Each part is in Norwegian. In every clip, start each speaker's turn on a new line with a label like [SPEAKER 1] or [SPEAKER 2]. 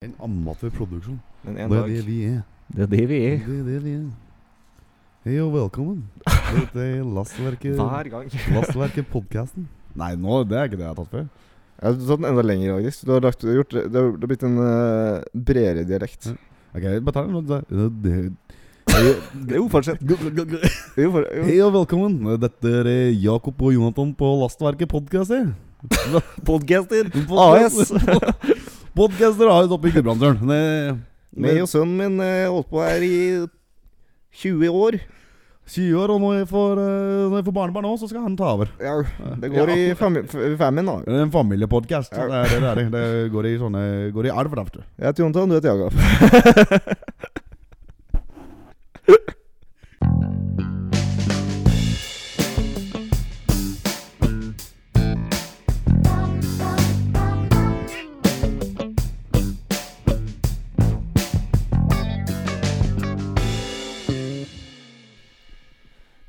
[SPEAKER 1] En amatørproduksjon.
[SPEAKER 2] Men en
[SPEAKER 1] Det er
[SPEAKER 2] dag
[SPEAKER 1] det vi er.
[SPEAKER 3] Det er det vi
[SPEAKER 1] Det
[SPEAKER 3] er.
[SPEAKER 1] er det vi er. Hei og velkommen. Dette er Lastverket
[SPEAKER 2] Hver gang.
[SPEAKER 1] Lastverket-podkasten. Nei, nå, det er ikke det jeg har tatt før.
[SPEAKER 2] Ja, du har tatt den enda lenger, faktisk. Du har, lagt, du har, gjort, det har, det har blitt en eh, bredere dialekt.
[SPEAKER 1] Ja. Ok, bare ta det nå. Det- det- det-
[SPEAKER 2] Jo, fortsett. Jo, for, jo.
[SPEAKER 1] Hei og velkommen. Dette er Jakob og Jonathan på eh. Lastverket-podkaster.
[SPEAKER 3] Podcaster!
[SPEAKER 1] Podcaster. Podcaster AS oppe i Gudbrandsdølen. Det-
[SPEAKER 2] Meg og sønnen min eh, holdt på her i 20 år.
[SPEAKER 1] 20 år, og når jeg får, eh, når jeg får barnebarn nå, så skal han ta over.
[SPEAKER 2] Ja, det går i fami- f- familien, da.
[SPEAKER 1] Det er en familiepodkast.
[SPEAKER 2] Ja.
[SPEAKER 1] Det, er det det er. Det går i sånne Går i arv, derfor.
[SPEAKER 2] Jeg heter Jonathan, du heter Jakob.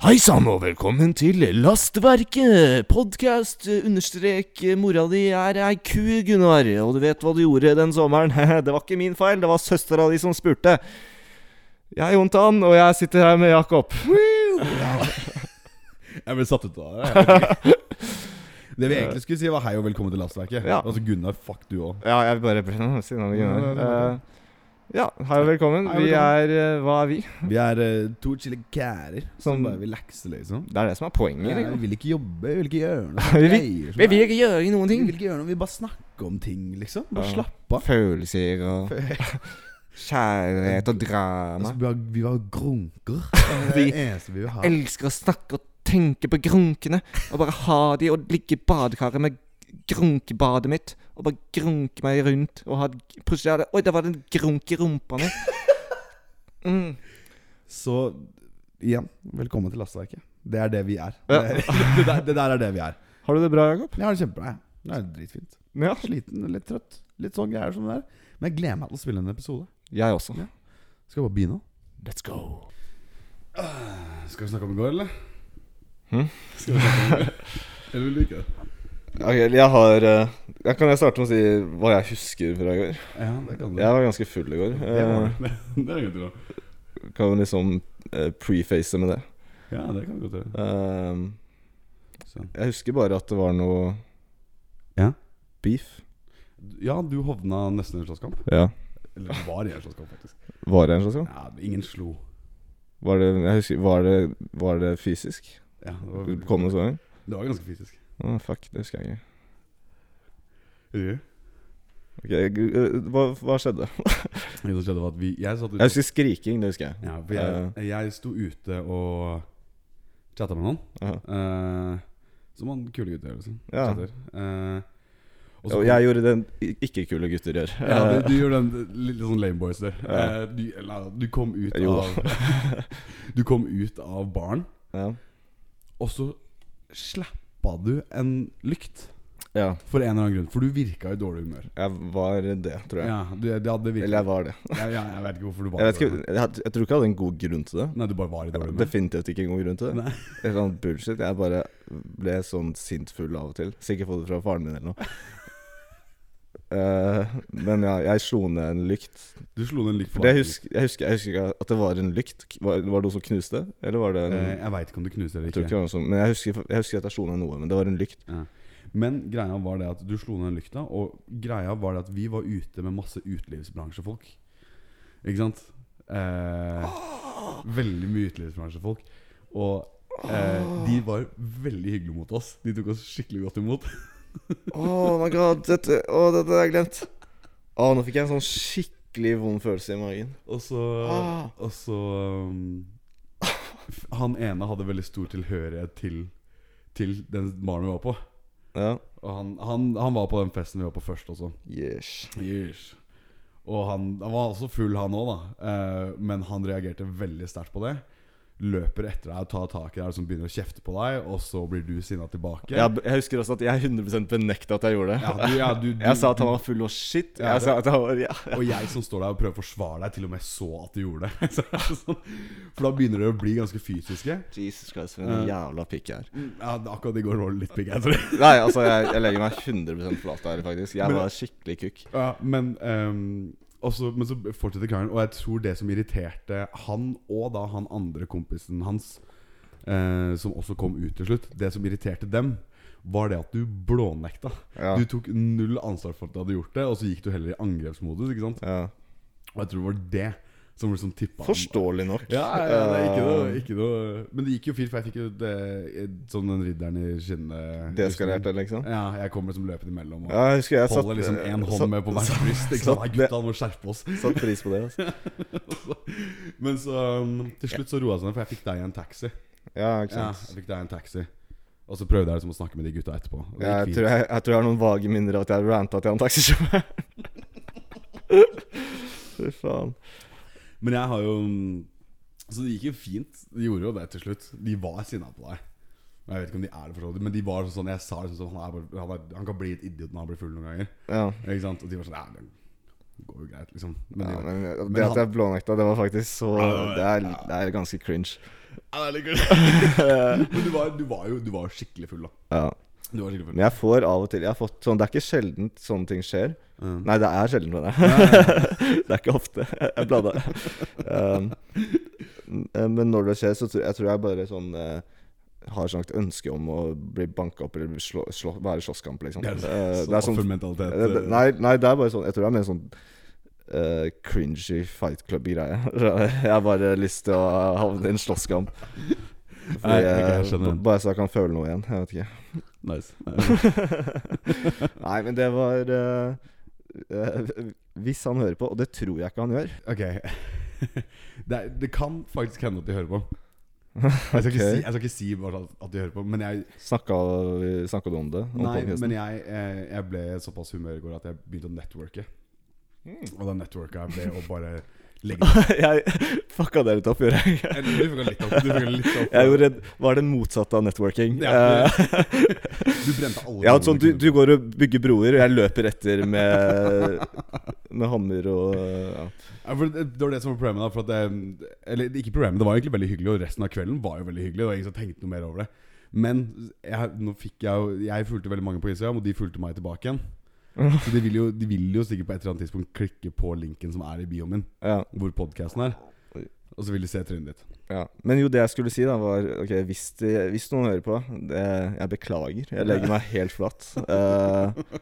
[SPEAKER 3] Hei sann, og velkommen til Lastverket! Podkast understrek eh, mora di er ei ku, Gunnar. Og du vet hva du gjorde den sommeren. det var ikke min feil, det var søstera di som spurte. Jeg er Jontan, og jeg sitter her med Jakob.
[SPEAKER 1] Jeg ble satt ut av det. jeg vet ikke. Det vi egentlig skulle si, var hei og velkommen til Lastverket.
[SPEAKER 2] Ja.
[SPEAKER 1] Altså Gunnar, fuck du òg.
[SPEAKER 2] Ja, jeg bare ble si navnet
[SPEAKER 1] Ja, det
[SPEAKER 2] Gunnar.
[SPEAKER 1] er
[SPEAKER 2] Eh, Ja, hei og velkommen.
[SPEAKER 1] Hei og
[SPEAKER 2] Vi
[SPEAKER 1] velkommen.
[SPEAKER 2] er eh, Hva er vi?
[SPEAKER 1] Vi er eh, to chille kærer som
[SPEAKER 2] Som-
[SPEAKER 1] bare vil lekse, liksom.
[SPEAKER 2] Det er det som er poenget.
[SPEAKER 1] Jeg
[SPEAKER 2] liksom.
[SPEAKER 1] vil ikke jobbe, jeg vil ikke gjøre noe.
[SPEAKER 2] Vi vil-
[SPEAKER 1] greier som
[SPEAKER 3] Vi vil
[SPEAKER 1] er.
[SPEAKER 3] ikke gjøre noen
[SPEAKER 1] Vi
[SPEAKER 3] ting.
[SPEAKER 1] vil ikke gjøre noe, vi bare snakker om ting, liksom. Bare
[SPEAKER 2] Ja.
[SPEAKER 1] slappe av.
[SPEAKER 2] Følelser og kjærlighet og drama.
[SPEAKER 1] Altså, vi, var, vi var grunker. Det
[SPEAKER 2] Vi-
[SPEAKER 1] er det eneste vi vil ha.
[SPEAKER 3] Elsker å snakke og tenke på grunkene. Og bare ha de og ligge i badekaret med grunkebadet mitt. Og bare grunke meg rundt. Og ha plutselig er det- Oi, der var det en grunk i rumpa mi. Mm.
[SPEAKER 1] Så igjen, velkommen til Lastverket. Det er det vi er.
[SPEAKER 2] Ja.
[SPEAKER 1] Det, det, der, det der er det vi er.
[SPEAKER 2] Har du det bra, Jakob?
[SPEAKER 1] Jeg har det kjempebra. jeg. Det er dritfint.
[SPEAKER 2] Ja.
[SPEAKER 1] Sliten, litt trøtt. Litt sånn greier som det er. Men jeg gleder meg til å spille en episode.
[SPEAKER 2] Jeg også.
[SPEAKER 1] Skal vi bare begynne? Ah,
[SPEAKER 3] Let's go.
[SPEAKER 1] Skal vi snakke om i går, eller?
[SPEAKER 2] Hm?
[SPEAKER 1] Skal vi snakke om i går? eller vil du ikke det?
[SPEAKER 2] Ok, jeg har eh, jeg Kan jeg starte med å si hva jeg husker fra i går?
[SPEAKER 1] Ja, det kan du.
[SPEAKER 2] Jeg var ganske full i går.
[SPEAKER 1] Det var det. Det er ingenting å
[SPEAKER 2] Eh, kan liksom eh, preface med det.
[SPEAKER 1] Ja, det kan vi godt gjøre. Sånn.
[SPEAKER 2] Ehm,
[SPEAKER 1] Så.
[SPEAKER 2] jeg husker bare at det var noe
[SPEAKER 1] Ja.
[SPEAKER 2] beef.
[SPEAKER 1] Ja, du hovna nesten i en slåsskamp.
[SPEAKER 2] Ja.
[SPEAKER 1] Eller du var i en slåsskamp, faktisk.
[SPEAKER 2] Var det en slags kamp?
[SPEAKER 1] Ja, ingen slo.
[SPEAKER 2] Var det, jeg husker, var det, var det fysisk?
[SPEAKER 1] Ja, det var,
[SPEAKER 2] Kom det så langt?
[SPEAKER 1] det var ganske fysisk.
[SPEAKER 2] Å, fuck, det husker jeg ikke.
[SPEAKER 1] Husker du?
[SPEAKER 2] Ok, gu- eh, hva, hva skjedde?
[SPEAKER 1] Det som skjedde, var at vi Jeg satt ute
[SPEAKER 2] Jeg husker skriking, det husker jeg.
[SPEAKER 1] ja, for jeg, jeg sto ute og chatta med noen.
[SPEAKER 2] Aha.
[SPEAKER 1] Eh, som han kule gutter gjør, liksom.
[SPEAKER 2] Ja.
[SPEAKER 1] Chatter. Eh, og så-
[SPEAKER 2] Og jeg gjorde den i- ikke kule gutter gjør.
[SPEAKER 1] ja,
[SPEAKER 2] Eh,
[SPEAKER 1] du, du gjorde den litt sånn lame boys der.
[SPEAKER 2] Ja.
[SPEAKER 1] Eh, du, eller, du kom ut
[SPEAKER 2] Jo.
[SPEAKER 1] av Du kom ut av baren,
[SPEAKER 2] ja.
[SPEAKER 1] og så slappa du en lykt.
[SPEAKER 2] ja.
[SPEAKER 1] For en eller annen grunn. For du virka i dårlig humør.
[SPEAKER 2] Jeg var det, tror jeg.
[SPEAKER 1] Ja, du, det hadde virket,
[SPEAKER 2] Eller jeg var det.
[SPEAKER 1] jeg, jeg, jeg vet ikke hvorfor du var
[SPEAKER 2] Jeg, vet
[SPEAKER 1] i
[SPEAKER 2] ikke,
[SPEAKER 1] dårlig humør.
[SPEAKER 2] jeg, had- jeg tror ikke jeg hadde en god grunn til det.
[SPEAKER 1] Nei, du bare var i dårlig humør.
[SPEAKER 2] Definitivt ikke en god grunn til det.
[SPEAKER 1] Nei.
[SPEAKER 2] Det er sånn bullshit. Jeg bare ble sånn sintfull av og til. Sikkert fått det fra faren min eller noe. Eh, men ja, jeg slo ned en lykt.
[SPEAKER 1] Du slo ned en lykt på
[SPEAKER 2] For det
[SPEAKER 1] vei.
[SPEAKER 2] jeg, husker, jeg, husker, jeg husker ikke at det var en lykt. Var, var det noe som knuste? Eller var det en,
[SPEAKER 1] Eh, Jeg veit ikke om du knuste eller
[SPEAKER 2] Jeg tror
[SPEAKER 1] ikke.
[SPEAKER 2] ikke det var noe som Men jeg husker, jeg husker at jeg slo ned noe, men det var en lykt.
[SPEAKER 1] Men greia var det at du slo ned lykta, og greia var det at vi var ute med masse utelivsbransjefolk. Ikke sant? Eh, veldig mye utelivsbransjefolk. Og eh, de var veldig hyggelige mot oss. De tok oss skikkelig godt imot.
[SPEAKER 2] Oh my god, dette, å, dette har jeg glemt. Å, nå fikk jeg en sånn skikkelig vond følelse i magen.
[SPEAKER 1] Og så,
[SPEAKER 2] Ah.
[SPEAKER 1] og så um, f- Han ene hadde veldig stor tilhørighet til, til den baren vi var på.
[SPEAKER 2] Ja.
[SPEAKER 1] Og han, han, han var på den festen vi var på først også.
[SPEAKER 2] Yes.
[SPEAKER 1] Yes. Og han, han var også full, han òg, da. Eh, men han reagerte veldig sterkt på det. løper etter deg og tar tak i deg og som begynner å kjefte på deg, og så blir du sinna tilbake.
[SPEAKER 2] Jeg, jeg husker også at jeg 100 benekta at jeg gjorde det.
[SPEAKER 1] Ja, du, ja, du, du,
[SPEAKER 2] Jeg sa at han var full av shit.
[SPEAKER 1] Ja,
[SPEAKER 2] Jeg sa at han var ja.
[SPEAKER 1] Og jeg som står der og prøver å forsvare deg, til og med så at du gjorde det. Så det er sånn, for da begynner dere å bli ganske fysiske.
[SPEAKER 2] Jesus Christ, for en jævla pikk jeg er.
[SPEAKER 1] Ja, akkurat det går litt pikk, jeg tror.
[SPEAKER 2] Nei, altså, jeg, jeg legger meg 100 flat der, faktisk. Jeg var skikkelig kukk.
[SPEAKER 1] Ja, men, ehm, også, men så fortsetter karen, og jeg tror det som irriterte han og da han andre kompisen hans, eh, som også kom ut til slutt, det som irriterte dem, var det at du blånekta.
[SPEAKER 2] Ja.
[SPEAKER 1] Du tok null ansvar for at du hadde gjort det, og så gikk du heller i angrepsmodus. ikke sant?
[SPEAKER 2] Ja.
[SPEAKER 1] Og jeg tror det var det som liksom tippa
[SPEAKER 2] Forståelig nok.
[SPEAKER 1] Ja, ja, det er ikke noe, ikke noe Men det gikk jo fint, for jeg fikk jo det som den ridderen i skinnet.
[SPEAKER 2] Deskalerte, liksom.
[SPEAKER 1] Ja, jeg kommer liksom løpende imellom. Og
[SPEAKER 2] Ja, jeg husker jeg satt eh,
[SPEAKER 1] holder liksom én hånd
[SPEAKER 2] satt-
[SPEAKER 1] med på hvert bryst. Ikke sant? Nei,
[SPEAKER 2] satt-
[SPEAKER 1] gutta, nå må skjerpe oss.
[SPEAKER 2] Satt pris på det, altså.
[SPEAKER 1] Men så um, til slutt så roa det seg ned, for jeg fikk deg i en taxi.
[SPEAKER 2] Ja, ikke
[SPEAKER 1] Ja,
[SPEAKER 2] sant.
[SPEAKER 1] jeg fikk deg i en taxi Og så prøvde jeg liksom å snakke med de gutta etterpå. og det
[SPEAKER 2] Ja,
[SPEAKER 1] gikk
[SPEAKER 2] jeg,
[SPEAKER 1] fint.
[SPEAKER 2] tror jeg, jeg tror jeg har noen vage minner av at jeg ranta til han taxisjåføren. Fy faen.
[SPEAKER 1] Men jeg har jo mm, Så det gikk jo fint. De gjorde jo det til slutt. De var sinna på deg. Og Jeg vet ikke om de er det, for så vidt, men de var sånn Jeg sa liksom sånn han, er, bare- han, er, han kan bli et idiot når han blir full noen ganger.
[SPEAKER 2] Ja.
[SPEAKER 1] Ikke sant? Og de var sånn Ja, det går jo greit, liksom. Men
[SPEAKER 2] ja
[SPEAKER 1] de,
[SPEAKER 2] men det
[SPEAKER 1] Men han-
[SPEAKER 2] at jeg blånekta, det var faktisk så Det er, det er ganske cringe.
[SPEAKER 1] ja, det er litt kult. men du var, du, var jo, du var jo skikkelig full, da.
[SPEAKER 2] Ja.
[SPEAKER 1] Du var skikkelig full.
[SPEAKER 2] Men jeg får av og til Jeg har fått sånn Det er ikke sjelden sånne ting skjer.
[SPEAKER 1] Mm.
[SPEAKER 2] Nei, det er sjelden, mener jeg. det er ikke ofte. Jeg blanda. Um, eh, men når det skjer, så tror jeg, tror jeg bare sånn eh, har et slags ønske om å bli banka opp eller slå, slå, være i slåsskamp, liksom.
[SPEAKER 1] Det er,
[SPEAKER 2] Eh,
[SPEAKER 1] sånn offermentalitet.
[SPEAKER 2] det, det, nei, nei, det er bare sånn Jeg tror det er mer sånn eh, cringy fight club-greie. jeg har bare lyst til å havne i en slåsskamp. Fordi
[SPEAKER 1] Nei, ok, jeg
[SPEAKER 2] jeg-
[SPEAKER 1] skjønner den.
[SPEAKER 2] Bare så jeg kan føle noe igjen. Jeg vet ikke.
[SPEAKER 1] Nice.
[SPEAKER 2] Nei, men det var eh, eh, Hvis han hører på, og det tror jeg ikke han gjør
[SPEAKER 1] Ok. Det, er, det kan faktisk hende at de hører på. Jeg skal, ikke,
[SPEAKER 2] Ok.
[SPEAKER 1] si, jeg skal ikke si bare at at de hører på, men jeg,
[SPEAKER 2] Snakka, snakka eh, du om det? Om
[SPEAKER 1] nei,
[SPEAKER 2] podcasten?
[SPEAKER 1] men jeg, eh, jeg ble såpass humør i går at jeg begynte å networke.
[SPEAKER 2] Hmm.
[SPEAKER 1] Og da networka jeg ble å bare legge Eh,
[SPEAKER 2] jeg fucka det litt opp, gjorde jeg.
[SPEAKER 1] Du funka litt opp. Du, funka litt opp.
[SPEAKER 2] Jeg gjorde, var det motsatte av networking.
[SPEAKER 1] Ja,
[SPEAKER 2] Eh,
[SPEAKER 1] du brente alle
[SPEAKER 2] ja,
[SPEAKER 1] tallene
[SPEAKER 2] sånn, du,
[SPEAKER 1] kunne-
[SPEAKER 2] du går og bygger broer, og jeg løper etter med, med hammer og ja.
[SPEAKER 1] Ja, for det, det var det som var problemet. da For at det, Eller ikke problemet, det var egentlig veldig hyggelig, og resten av kvelden var jo veldig hyggelig. Det var ingen som tenkte noe mer over det Men jeg, nå fikk jeg jo Jeg fulgte veldig mange på Instagram, og de fulgte meg tilbake igjen. Så de vil jo, de vil jo sikkert på et eller annet tidspunkt klikke på linken som er i bioen min,
[SPEAKER 2] ja,
[SPEAKER 1] hvor podkasten er. Og så vil de se trynet ditt.
[SPEAKER 2] ja. Men jo, det jeg skulle si, da, var Ok, hvis, de, hvis noen hører på det, Jeg beklager. Jeg legger meg helt flatt. Eh,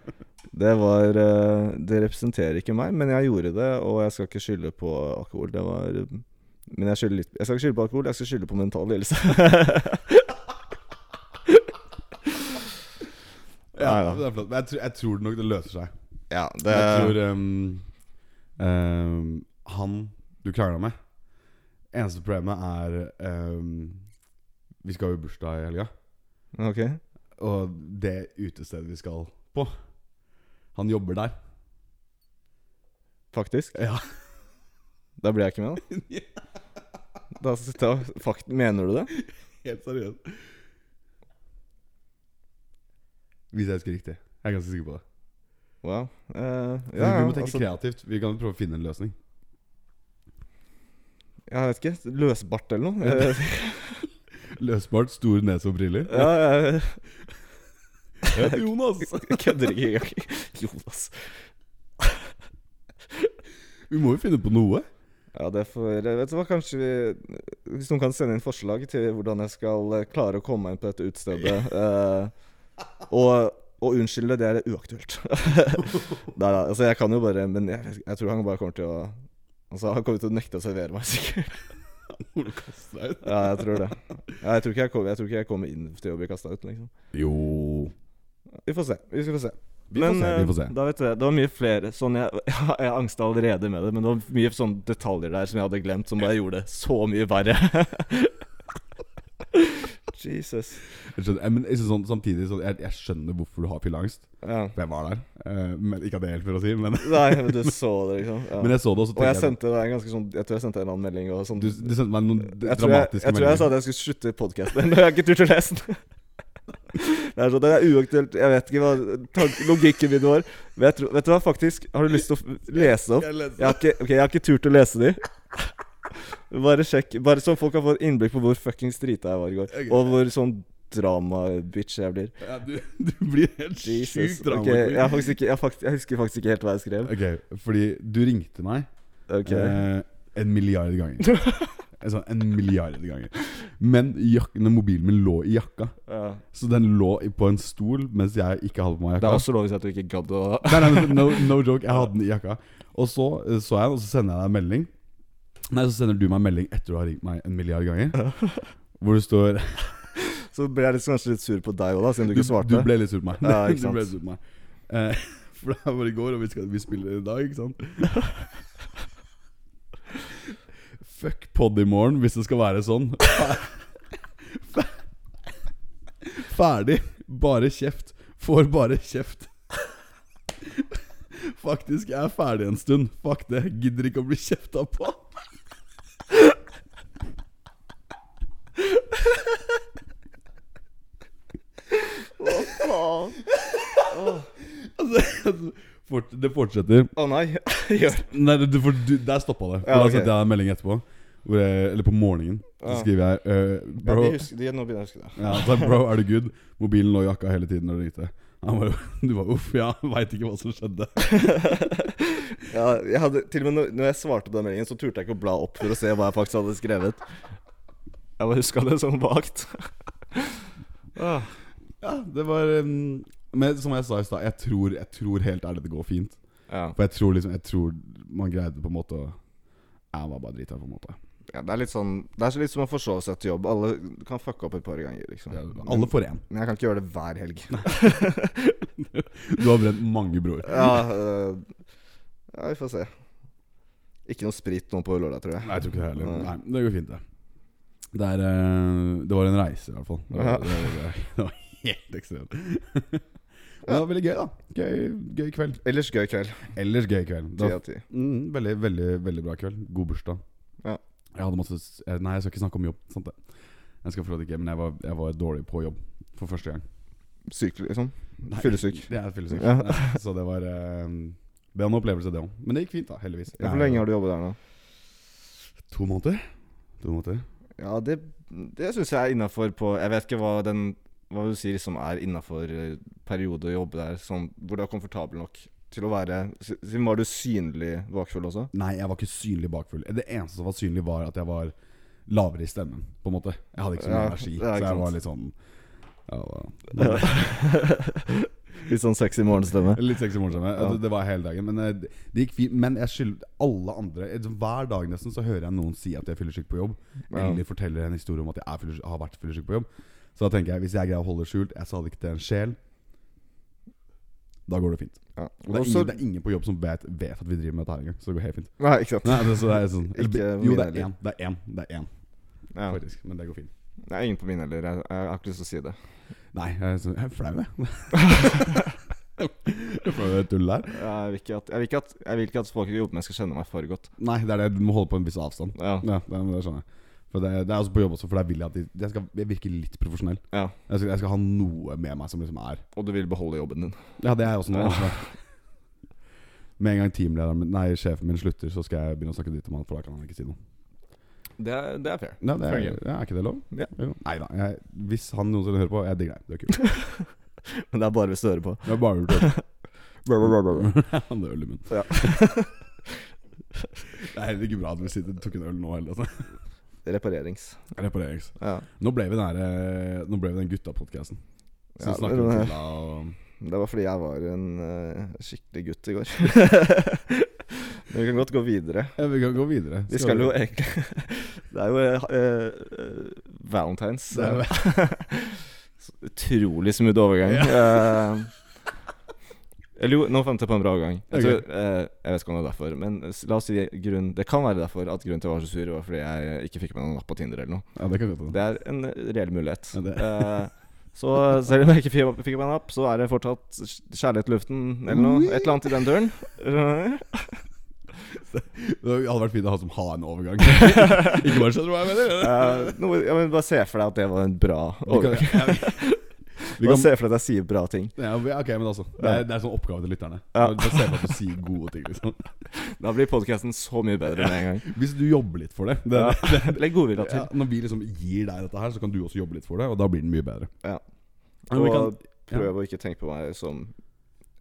[SPEAKER 2] det var eh, Det representerer ikke meg, men jeg gjorde det, og jeg skal ikke skylde på alkohol. Det var Men jeg, skylder litt, jeg skal ikke skylde på alkohol, jeg skal skylde på mental lidelse.
[SPEAKER 1] Ja,
[SPEAKER 2] Neida.
[SPEAKER 1] det er flott. Men jeg, tror- jeg tror nok det løser seg.
[SPEAKER 2] ja, det
[SPEAKER 1] Jeg tror ehm, ehm, han du krangla med Eneste problemet er ehm, Vi skal jo i bursdag i helga.
[SPEAKER 2] Ok.
[SPEAKER 1] Og det utestedet vi skal på Han jobber der
[SPEAKER 2] Faktisk.
[SPEAKER 1] Ja
[SPEAKER 2] Da blir jeg ikke med, da. da, da fakt, mener du det?
[SPEAKER 1] Helt seriøst Hvis jeg husker riktig Jeg er ganske sikker på det
[SPEAKER 2] Wow. Eh,
[SPEAKER 1] Vi-
[SPEAKER 2] ja,
[SPEAKER 1] Vi må tenke
[SPEAKER 2] altså,
[SPEAKER 1] kreativt Vi kan prøve å finne en løsning
[SPEAKER 2] jeg vet ikke. Løsbart eller noe? Eh,
[SPEAKER 1] Løsbart, stor nese og briller
[SPEAKER 2] ja, jeg
[SPEAKER 1] Jeg heter Jonas
[SPEAKER 2] jeg kødder ikke engang. Jonas.
[SPEAKER 1] Vi må jo finne på noe
[SPEAKER 2] Ja, det får eh, Vet du hva, kanskje vi Hvis noen kan sende inn forslag til hvordan jeg skal eh, klare å komme meg inn på dette utestedet eh, Og, og unnskylde, det er uaktuelt. Nei da. Altså, jeg kan jo bare Men jeg, jeg tror han bare kommer til å Altså, han kommer til å nekte å servere meg, sikkert.
[SPEAKER 1] Hvordan kaster deg ut?
[SPEAKER 2] Ja, jeg tror det. Ja, jeg, tror ikke jeg, kommer, jeg tror ikke jeg kommer inn til å bli kasta ut, liksom.
[SPEAKER 1] Jo
[SPEAKER 2] Vi får se. Vi skal få se.
[SPEAKER 1] Vi får se,
[SPEAKER 3] eh,
[SPEAKER 1] vi får se
[SPEAKER 3] Da vet du det. Det var mye flere sånn jeg, jeg angsta allerede med det, men det var mye
[SPEAKER 2] sånn
[SPEAKER 3] sånne detaljer der som jeg hadde glemt, som bare gjorde det så mye verre.
[SPEAKER 2] Jesus.
[SPEAKER 1] Jeg skjønner, eh, men jeg synes sånn, samtidig så jeg, jeg skjønner hvorfor du har fylleangst.
[SPEAKER 2] Ja.
[SPEAKER 1] For jeg var der. Eh, men, ikke at det hjelper å si, men,
[SPEAKER 2] Nei, men du så det, liksom. Ja.
[SPEAKER 1] men jeg så det, og så
[SPEAKER 2] og
[SPEAKER 1] tenkte jeg
[SPEAKER 2] jeg sendte deg en ganske sånn Jeg tror jeg sendte deg en annen melding og sånn.
[SPEAKER 1] du, du sendte meg noen d-
[SPEAKER 2] jeg, tror jeg,
[SPEAKER 1] dramatiske
[SPEAKER 2] jeg tror jeg sa at jeg skulle slutte podkasten. Jeg har ikke turt å lese den. Det er sånn, det er uaktuelt. Jeg vet ikke hva tank- logikken min var. Men jeg tror, vet du hva, faktisk Har du lyst til å f- lese opp? Jeg har ikke, ok, jeg har ikke turt å lese de. Bare sjekk. Bare så folk kan få et innblikk på hvor fuckings drita jeg var i går.
[SPEAKER 1] Ok.
[SPEAKER 2] Og hvor sånn drama-bitch jeg blir.
[SPEAKER 1] Ja, du, du blir helt
[SPEAKER 2] Jesus.
[SPEAKER 1] sjukt
[SPEAKER 2] Ok,
[SPEAKER 1] dramatisk.
[SPEAKER 2] jeg, har faktisk ikke, jeg, har faktisk, jeg husker faktisk ikke helt hva jeg skrev.
[SPEAKER 1] Ok, fordi du ringte meg
[SPEAKER 2] Ok
[SPEAKER 1] eh, en milliard ganger. En sånn en milliard ganger. Men jak når mobilen min lå i jakka.
[SPEAKER 2] ja.
[SPEAKER 1] Så den lå i- på en stol mens jeg ikke hadde på meg jakka.
[SPEAKER 2] Det er også logisk at du ikke gadd å
[SPEAKER 1] Nei, nei, men no, no joke, jeg hadde den i jakka. Og så eh, så jeg den, og så sender jeg deg en melding. Nei, så sender du meg en melding etter du har ringt meg en milliard ganger. Hvor det står
[SPEAKER 2] Så ble jeg litt, kanskje litt sur på deg òg, da, siden du ikke svarte.
[SPEAKER 1] Du ble litt sur på meg.
[SPEAKER 2] Ja, ikke
[SPEAKER 1] Du
[SPEAKER 2] sant.
[SPEAKER 1] ble litt sur på meg. Eh, for det her var i går, og vi, skal, vi spiller i dag, ikke sant? Fuck pod i morgen, hvis det skal være sånn. Fer- Ferdig. Bare kjeft. Får bare kjeft. Faktisk, jeg er ferdig en stund. Fuck det. Gidder ikke å bli kjefta på.
[SPEAKER 2] Å, faen.
[SPEAKER 1] Altså, fort, det fortsetter.
[SPEAKER 2] Å nei. Gjør
[SPEAKER 1] Nei, det- det- for du, der stoppa det. For
[SPEAKER 2] Ja,
[SPEAKER 1] Da
[SPEAKER 2] ok.
[SPEAKER 1] sendte jeg en melding etterpå. Hvor jeg, eller på morgenen. Så
[SPEAKER 2] Ja.
[SPEAKER 1] skriver jeg eh,
[SPEAKER 2] ja,
[SPEAKER 1] bro,
[SPEAKER 2] de husker, de, Nå begynner jeg å huske det.
[SPEAKER 1] ja, så, bro, er du good? Mobilen lå i jakka hele tiden når du ringte. Han bare, du bare uff, ja, veit ikke hva som skjedde.
[SPEAKER 2] Ja, jeg hadde, til og med når, når jeg svarte på den meldingen, så turte jeg ikke å bla opp for å se hva jeg faktisk hadde skrevet. Jeg bare huska det sånn vagt. Ah,
[SPEAKER 1] Ja, det var um, Men som jeg sa i stad, jeg, tror- jeg tror helt ærlig det går fint.
[SPEAKER 2] ja.
[SPEAKER 1] For jeg tror liksom Jeg tror man greide på en måte å Jeg var bare drita, på en måte.
[SPEAKER 2] ja, det er litt sånn Det er så litt som å forsove seg til jobb. Alle kan fucke opp et par ganger, liksom.
[SPEAKER 1] Ja, Alle får én.
[SPEAKER 2] Men jeg kan ikke gjøre det hver helg.
[SPEAKER 1] Du har brent mange broer.
[SPEAKER 2] Ja, øh, ja, vi får se. Ikke noe sprit nå på lørdag, tror jeg.
[SPEAKER 1] Nei, jeg tror ikke det heller.
[SPEAKER 2] Nei.
[SPEAKER 1] Nei, det går fint, det. Det, er, eh, det var en reise, i hvert fall. Det
[SPEAKER 2] Ja.
[SPEAKER 1] var, det var, det var, det var helt ekstremt. Men det var veldig gøy, da. Gøy, gøy kveld.
[SPEAKER 2] Ellers gøy kveld.
[SPEAKER 1] Ellers gøy kveld. Det
[SPEAKER 2] Ti
[SPEAKER 1] var,
[SPEAKER 2] av ti.
[SPEAKER 1] mm, veldig, veldig, veldig bra kveld. God bursdag.
[SPEAKER 2] Ja.
[SPEAKER 1] Jeg hadde masse s- eh, Nei, jeg skal ikke snakke om jobb. Sant det. Jeg skal forlate ikke, men jeg var, jeg var dårlig på jobb for første gang.
[SPEAKER 2] Syk, liksom.
[SPEAKER 1] Nei,
[SPEAKER 2] Fyllesyk.
[SPEAKER 1] Det er fyllesyk.
[SPEAKER 2] Ja.
[SPEAKER 1] Nei, Så det var eh, Det var en opplevelse, det òg. Men det gikk fint, da. Heldigvis.
[SPEAKER 2] Hvor lenge har du jobbet der nå?
[SPEAKER 1] To måneder. To måneder.
[SPEAKER 2] Ja, det, det syns jeg er innafor på Jeg vet ikke hva den Hva du sier som er innafor eh, periode å jobbe der, sånn, hvor du er komfortabel nok til å være si- Siden var du synlig bakfull også?
[SPEAKER 1] Nei, jeg var ikke synlig bakfull. Det eneste som var synlig, var at jeg var lavere i stemmen. På en måte Jeg hadde ikke så mye
[SPEAKER 2] Ja,
[SPEAKER 1] energi,
[SPEAKER 2] ja,
[SPEAKER 1] så
[SPEAKER 2] ikke
[SPEAKER 1] jeg
[SPEAKER 2] sant.
[SPEAKER 1] var litt sånn ja, det var-
[SPEAKER 2] Litt sånn sexy morgenstemme.
[SPEAKER 1] eh, Litt sexy morgenstemme.
[SPEAKER 2] Ja.
[SPEAKER 1] Det, det var hele dagen. Men eh, det det gikk fint. Men jeg skylder alle andre eh, Hver dag nesten så hører jeg noen si at jeg er fyllesyk på jobb.
[SPEAKER 2] Ja.
[SPEAKER 1] Eller forteller en historie om at jeg er fyllesyk, har vært fyllesyk på jobb. Så da tenker jeg hvis jeg greier å holde det skjult, jeg sa det ikke til en sjel, da går det fint.
[SPEAKER 2] Ja.
[SPEAKER 1] Og det, er
[SPEAKER 2] Også-
[SPEAKER 1] ingen, det er ingen på jobb som vet, vet at vi driver med dette her engang. Så det går helt fint.
[SPEAKER 2] Nei, ikke sant.
[SPEAKER 1] Nei, det, så det er sånn eller,
[SPEAKER 2] Ikke
[SPEAKER 1] Jo,
[SPEAKER 2] min
[SPEAKER 1] det er
[SPEAKER 2] heller.
[SPEAKER 1] én. Det er én. Det er én.
[SPEAKER 2] Ja.
[SPEAKER 1] faktisk. Men det går fint.
[SPEAKER 2] Det er ingen på min heller. Jeg, jeg har ikke lyst til å si det.
[SPEAKER 1] Nei, jeg er så- jeg er flau, jeg. Jeg får jo et tull der.
[SPEAKER 2] Jeg vil ikke at, jeg vil ikke at, jeg vil ikke at folk jeg jobber med, skal kjenne meg for godt.
[SPEAKER 1] Nei, det er det. Du må holde på en viss avstand.
[SPEAKER 2] Ja.
[SPEAKER 1] Ja, det, det skjønner jeg. For det, det er også på jobb også, for der vil jeg at de, jeg skal jeg virke litt profesjonell.
[SPEAKER 2] ja.
[SPEAKER 1] Jeg skal, jeg skal ha noe med meg som liksom er
[SPEAKER 2] Og du vil beholde jobben din.
[SPEAKER 1] Ja, det er også noe.
[SPEAKER 2] Ja.
[SPEAKER 1] altså. Med en gang teamlederen min, nei, sjefen min slutter, så skal jeg begynne å snakke dritt om han, for da kan han ikke si noe.
[SPEAKER 2] Det er, det er fair.
[SPEAKER 1] Ja, det er,
[SPEAKER 2] Fair game.
[SPEAKER 1] ja, er ikke det lov?
[SPEAKER 2] Ja.
[SPEAKER 1] Nei da. jeg- Hvis han noensinne hører på, jeg digger deg. Du er kul.
[SPEAKER 2] Men det er bare hvis du hører på.
[SPEAKER 1] Det er bare du
[SPEAKER 2] Brr, brr, brr, brr.
[SPEAKER 1] Han er øl i munnen.
[SPEAKER 2] Ja.
[SPEAKER 1] det er heller ikke bra at vi sitter, tok en øl nå heller. Altså.
[SPEAKER 2] Reparerings.
[SPEAKER 1] Reparerings.
[SPEAKER 2] Ja.
[SPEAKER 1] Nå ble vi den, her, eh, nå ble vi den guttapodkasten. Som
[SPEAKER 2] Ja,
[SPEAKER 1] snakker
[SPEAKER 2] det-
[SPEAKER 1] om Tilla og
[SPEAKER 2] Det var fordi jeg var en eh, skikkelig gutt i går. Men vi kan godt gå videre.
[SPEAKER 1] ja, Vi kan gå videre.
[SPEAKER 2] Vi skal jo egentlig Det er jo eh, eh, eh, Valentines.
[SPEAKER 1] Det er
[SPEAKER 2] Så Utrolig smooth overgang. Eh, Eller jo, nå fant jeg på en bra gang.
[SPEAKER 1] Ok.
[SPEAKER 2] Jeg, tror, eh, jeg vet ikke om det er derfor, men s- la oss si grunn, det kan være derfor at grunnen til at jeg var så sur, var fordi jeg eh, ikke fikk med noen napp på Tinder eller noe.
[SPEAKER 1] Ja, det kan godt hende.
[SPEAKER 2] Det er en eh, reell mulighet.
[SPEAKER 1] Ja, det-
[SPEAKER 2] Eh, så selv om jeg ikke fikk fikk meg en app, så er det fortsatt kj- kjærlighet i luften eller noe. Et eller annet i den døren. Eh,
[SPEAKER 1] Det hadde vært fint å ha som ha en overgang. ikke bare skjønner du hva jeg mener?
[SPEAKER 2] eh, noe, ja, men bare se for deg at det var en bra
[SPEAKER 1] Vi kan,
[SPEAKER 2] overgang.
[SPEAKER 1] vi
[SPEAKER 2] Bare
[SPEAKER 1] kan,
[SPEAKER 2] se for deg at jeg sier bra ting.
[SPEAKER 1] ja, vi- ok, men altså Det er, det er sånn oppgave til lytterne.
[SPEAKER 2] Ja.
[SPEAKER 1] Bare se på at du sier gode ting. liksom
[SPEAKER 2] Da blir podkasten så mye bedre med en gang.
[SPEAKER 1] Hvis du jobber litt for det, det,
[SPEAKER 2] Ja.
[SPEAKER 1] det,
[SPEAKER 2] Legg
[SPEAKER 1] ja,
[SPEAKER 2] godvilja til.
[SPEAKER 1] Når vi liksom gir deg dette her, så kan du også jobbe litt for det, og da blir den mye bedre.
[SPEAKER 2] Ja.
[SPEAKER 1] Men vi kan,
[SPEAKER 2] Og prøv å ikke tenke på meg som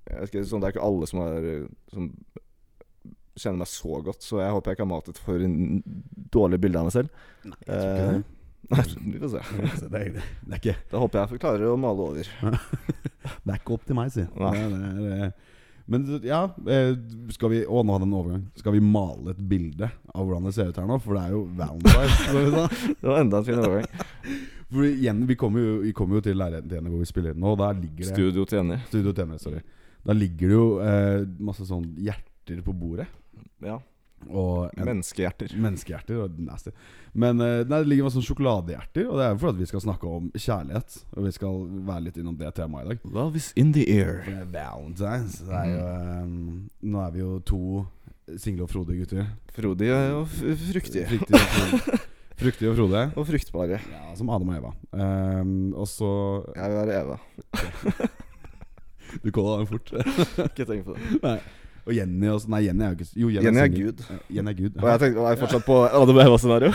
[SPEAKER 2] jeg vet ikke, sånn, Det er ikke alle som, er, som kjenner meg så godt, så jeg håper jeg ikke har matet for en dårlig bilde av meg selv. Eh,
[SPEAKER 1] jeg
[SPEAKER 2] Nei, vi får se.
[SPEAKER 1] det, er, det, er ikke,
[SPEAKER 2] Da håper jeg jeg klarer å male over.
[SPEAKER 1] det er ikke opp til meg, si.
[SPEAKER 2] Nei.
[SPEAKER 1] Det, er- det, er- men ja eh, skal vi, Å, nå hadde jeg en overgang. Skal vi male et bilde av hvordan det ser ut her nå? For det er jo Valentine's. skal vi si.
[SPEAKER 2] Det var enda en fin overgang.
[SPEAKER 1] For sånn. igjen, vi kommer jo, vi kommer jo til leiligheten til Jenny hvor vi spiller inn nå, og der ligger det
[SPEAKER 2] Studio til Jenny.
[SPEAKER 1] Studio Tenere, sorry. Der ligger det jo eh, masse sånn hjerter på bordet.
[SPEAKER 2] Ja.
[SPEAKER 1] Og en,
[SPEAKER 2] Menneskehjerter.
[SPEAKER 1] menneskehjerter og nasty. Men eh, nei, det ligger masse sånn sjokoladehjerter, og det er jo for at vi skal snakke om kjærlighet. Og vi skal være litt innom det temaet i dag.
[SPEAKER 3] Love is in the air.
[SPEAKER 1] For det er Valentine's. Det er jo eh, Nå er vi jo to single og frodige gutter.
[SPEAKER 2] Frodige og f- fruktige.
[SPEAKER 1] Fryktige og frodige. Fruktige og frodige.
[SPEAKER 2] Og fruktbare.
[SPEAKER 1] Ja, som Adam og Eva. Eh, og så
[SPEAKER 2] Jeg vil være Eva.
[SPEAKER 1] Du kaller den fort.
[SPEAKER 2] Ikke tenk på det.
[SPEAKER 1] Og Jenny også. Nei, Jenny er jo ikke Jo, Jenny,
[SPEAKER 2] Jenny er
[SPEAKER 1] single.
[SPEAKER 2] Gud.
[SPEAKER 1] Ja, Jenny er Gud.
[SPEAKER 2] Og jeg tenkte, var jeg fortsatt på Adam og Eva-scenario?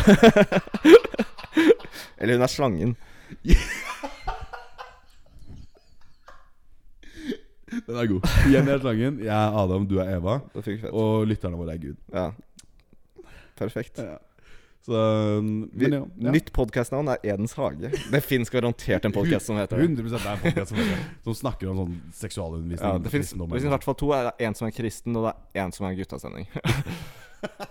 [SPEAKER 2] Eller hun er slangen.
[SPEAKER 1] Den er god. Jenny er slangen, jeg er Adam, du er Eva.
[SPEAKER 2] Det fikk vi fett.
[SPEAKER 1] Og lytterne våre er Gud.
[SPEAKER 2] Ja. Perfekt.
[SPEAKER 1] Så eh,
[SPEAKER 2] Vi,
[SPEAKER 1] men ja, ja.
[SPEAKER 2] Nytt podkastnavn er Edens hage. Det fins garantert en podkast som heter det.
[SPEAKER 1] 100 det er folk som, som snakker om sånn seksualundervisning.
[SPEAKER 2] Ja, det
[SPEAKER 1] for
[SPEAKER 2] fins
[SPEAKER 1] kristendom,
[SPEAKER 2] i
[SPEAKER 1] eller noe
[SPEAKER 2] hvert fall to. Er det en som er kristen, og det er en som er guttastemning.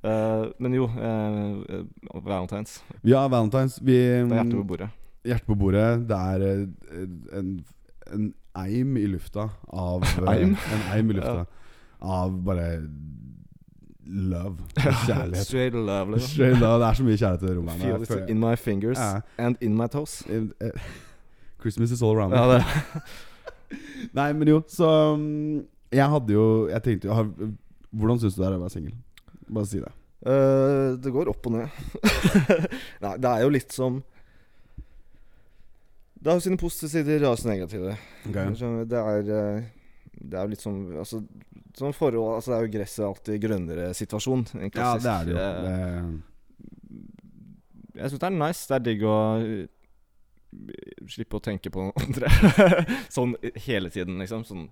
[SPEAKER 2] Eh, men jo, eh, eh, Valentines.
[SPEAKER 1] sånt. Vi har Valentine's. Vi,
[SPEAKER 2] Det er hjertet på bordet.
[SPEAKER 1] Hjerte på bordet. Det er eh, en, en eim i lufta av eh,
[SPEAKER 2] Eim?
[SPEAKER 1] En eim i lufta av bare love. Kjærlighet.
[SPEAKER 2] Straight love. liksom.
[SPEAKER 1] Straight love. Det er så mye kjærlighet i det rommet. her.
[SPEAKER 2] Feel
[SPEAKER 1] Jeg
[SPEAKER 2] it
[SPEAKER 1] føler-
[SPEAKER 2] in my fingers
[SPEAKER 1] Ja.
[SPEAKER 2] and in my toes.
[SPEAKER 1] Eh, eh, Christmas is all around.
[SPEAKER 2] Ja, det.
[SPEAKER 1] Nei, men jo, så um, Jeg hadde jo Jeg tenkte jo har, Hvordan syns du det er å være singel? Bare si det.
[SPEAKER 2] Eh, det går opp og ned. Nei, det er jo litt som Det har jo sine positive sider og sine negative. Skjønner du? Det er eh, Det er jo litt som Altså, sånn forhold Altså, det er jo gresset alltid grønnere situasjon. En
[SPEAKER 1] Ja,
[SPEAKER 2] klassisk
[SPEAKER 1] det er det jo.
[SPEAKER 2] eh,
[SPEAKER 1] Det,
[SPEAKER 2] Jeg syns det er nice. Det er digg å eh, Slippe å tenke på noen andre sånn hele tiden, liksom. Sånn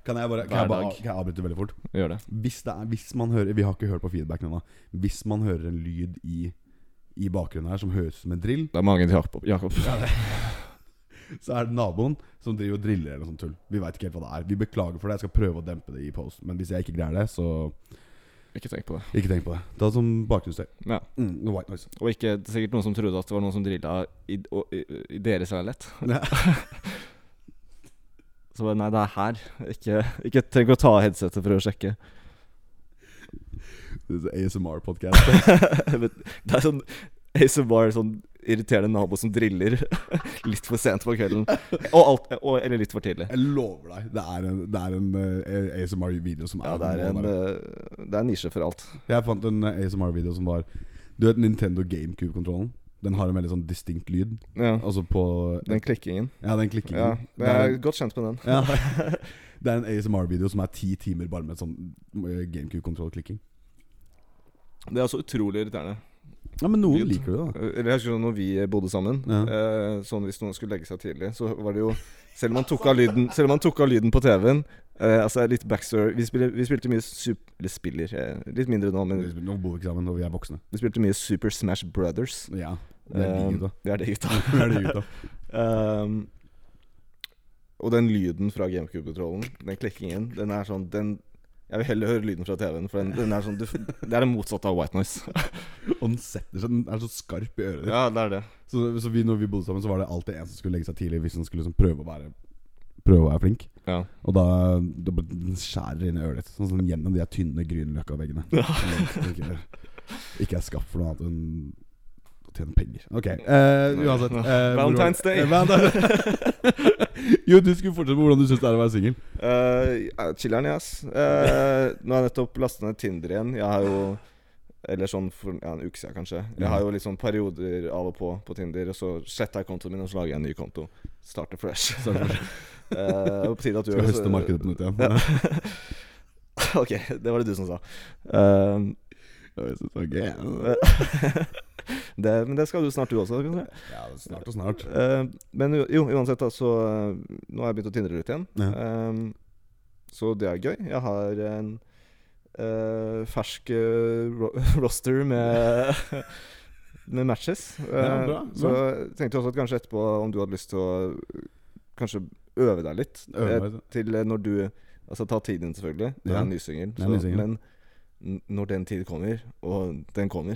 [SPEAKER 1] kan jeg bare, kan jeg bare
[SPEAKER 2] Hverdag.
[SPEAKER 1] kan jeg avbryte veldig fort?
[SPEAKER 2] gjør det.
[SPEAKER 1] Hvis, det er, hvis man hører Vi har ikke hørt på feedbacken ennå. Hvis man hører en lyd i, i bakgrunnen her som høres ut som en drill,
[SPEAKER 2] Det er mange til Jakob. Jakob.
[SPEAKER 1] så er det naboen som driver og driller eller noe sånt tull. Vi veit ikke helt hva det er. Vi beklager for det. Jeg skal prøve å dempe det i post. Men hvis jeg ikke greier det, så
[SPEAKER 2] Ikke tenk på det.
[SPEAKER 1] ikke tenk på det. Ta som bakgrunnsstøy.
[SPEAKER 2] Ja.
[SPEAKER 1] Mm, noe white noise.
[SPEAKER 2] Og ikke, det er sikkert noen som trodde at det var noen som drilla i, og- i, i deres leilighet.
[SPEAKER 1] Ja.
[SPEAKER 2] Så bare, nei, det er her. Ikke, ikke trenger å ta av headsetet for å sjekke.
[SPEAKER 1] ASMR-podkast.
[SPEAKER 2] Men det er sånn ASMR, sånn irriterende nabo som driller litt for sent på kvelden. Og alt, og, eller litt for tidlig.
[SPEAKER 1] Jeg lover deg, det er en, det er en eh, ASMR-video som er
[SPEAKER 2] Ja, det er en,
[SPEAKER 1] der.
[SPEAKER 2] eh, det er en nisje for alt.
[SPEAKER 1] Jeg fant en eh, ASMR-video som var Du vet Nintendo GameCube-kontrollen? Den har en veldig sånn distinkt lyd.
[SPEAKER 2] Ja,
[SPEAKER 1] Altså på
[SPEAKER 2] den klikkingen.
[SPEAKER 1] Ja, den klikkingen.
[SPEAKER 2] Ja,
[SPEAKER 1] det er,
[SPEAKER 2] jeg er godt kjent med den.
[SPEAKER 1] ja, det er en ASMR-video som er ti timer bare med sånn eh, GameCube-kontroll-klikking.
[SPEAKER 2] Det er også utrolig irriterende.
[SPEAKER 1] Ja, men noen
[SPEAKER 2] Lyd.
[SPEAKER 1] liker det, da.
[SPEAKER 2] Eh, Eller jeg husker sånn når vi bodde sammen
[SPEAKER 1] Ja.
[SPEAKER 2] eh, Sånn hvis noen skulle legge seg tidlig Så var det jo Selv om man tok av lyden Selv om man tok av lyden på TV-en eh, Altså litt backstory Vi, spiller, vi spilte mye sup- Eller spiller eh, Litt mindre nå Men
[SPEAKER 1] Nå bor vi ikke sammen, og vi er voksne.
[SPEAKER 2] vi spilte mye Super Smash Brothers
[SPEAKER 1] Ja, det er de
[SPEAKER 2] Eh,
[SPEAKER 1] gutta.
[SPEAKER 2] Det er de gutta
[SPEAKER 1] Det er de gutta.
[SPEAKER 2] Ehm, Og den lyden fra GameCube-kontrollen Den klikkingen Den er sånn Den jeg vil heller høre lyden fra TV-en, for den, den er sånn, du, f- det er det motsatte av white noise.
[SPEAKER 1] Og den setter seg, den er så skarp i øret ditt.
[SPEAKER 2] Ja, det er det.
[SPEAKER 1] Så, så vi, når vi bodde sammen, så var det alltid en som skulle legge seg tidlig hvis han skulle liksom prøve å være Prøve å være flink.
[SPEAKER 2] Ja.
[SPEAKER 1] Og da det bare- den skjærer inn i øret ditt, sånn som gjennom de her tynne Grünerløkka-veggene. Som Ikke, ikke er skapt for noe annet enn å tjene penger. Ok, eh, uansett. eh, hvor var det?
[SPEAKER 2] Valentine's Day.
[SPEAKER 1] Eh, Valentine's- jo, du skulle fortsette med hvordan du syns det er å være singel.
[SPEAKER 2] Eh, ja, chiller'n, jeg, ass. Eh, nå har jeg nettopp lasta ned Tinder igjen. Jeg har jo Eller sånn for ja, en uke siden, kanskje. Jeg
[SPEAKER 1] Mm.
[SPEAKER 2] har jo litt sånn perioder av og på på Tinder, og så sletter jeg kontoen min, og så lager jeg en ny konto. Starter fresh.
[SPEAKER 1] Så er det for-
[SPEAKER 2] Eh, det er på tide at du
[SPEAKER 1] Skal
[SPEAKER 2] gjør det, så-
[SPEAKER 1] høste markedet på nytt igjen.
[SPEAKER 2] Ja. ok, det var det du som sa. Eh,
[SPEAKER 1] Jeg synes det er gøy.
[SPEAKER 2] det, men det skal du snart, du også. Kan du si.
[SPEAKER 1] Ja, det er snart og snart.
[SPEAKER 2] Eh, men u- jo, uansett, da, så eh, Nå har jeg begynt å tindre litt igjen.
[SPEAKER 1] Ja.
[SPEAKER 2] Eh, så det er gøy. Jeg har en eh, fersk eh, ro roster med Med matches. Eh,
[SPEAKER 1] Ja, bra,
[SPEAKER 2] Så jeg tenkte også at kanskje etterpå, om du hadde lyst til å eh, Kanskje øve deg litt. eh,
[SPEAKER 1] Øver meg.
[SPEAKER 2] til eh, når du Altså ta tiden din, selvfølgelig. Det
[SPEAKER 1] Ja.
[SPEAKER 2] er en nysingel.
[SPEAKER 1] er en ny
[SPEAKER 2] så-
[SPEAKER 1] singel.
[SPEAKER 2] Men n- når den tid kommer, og den kommer,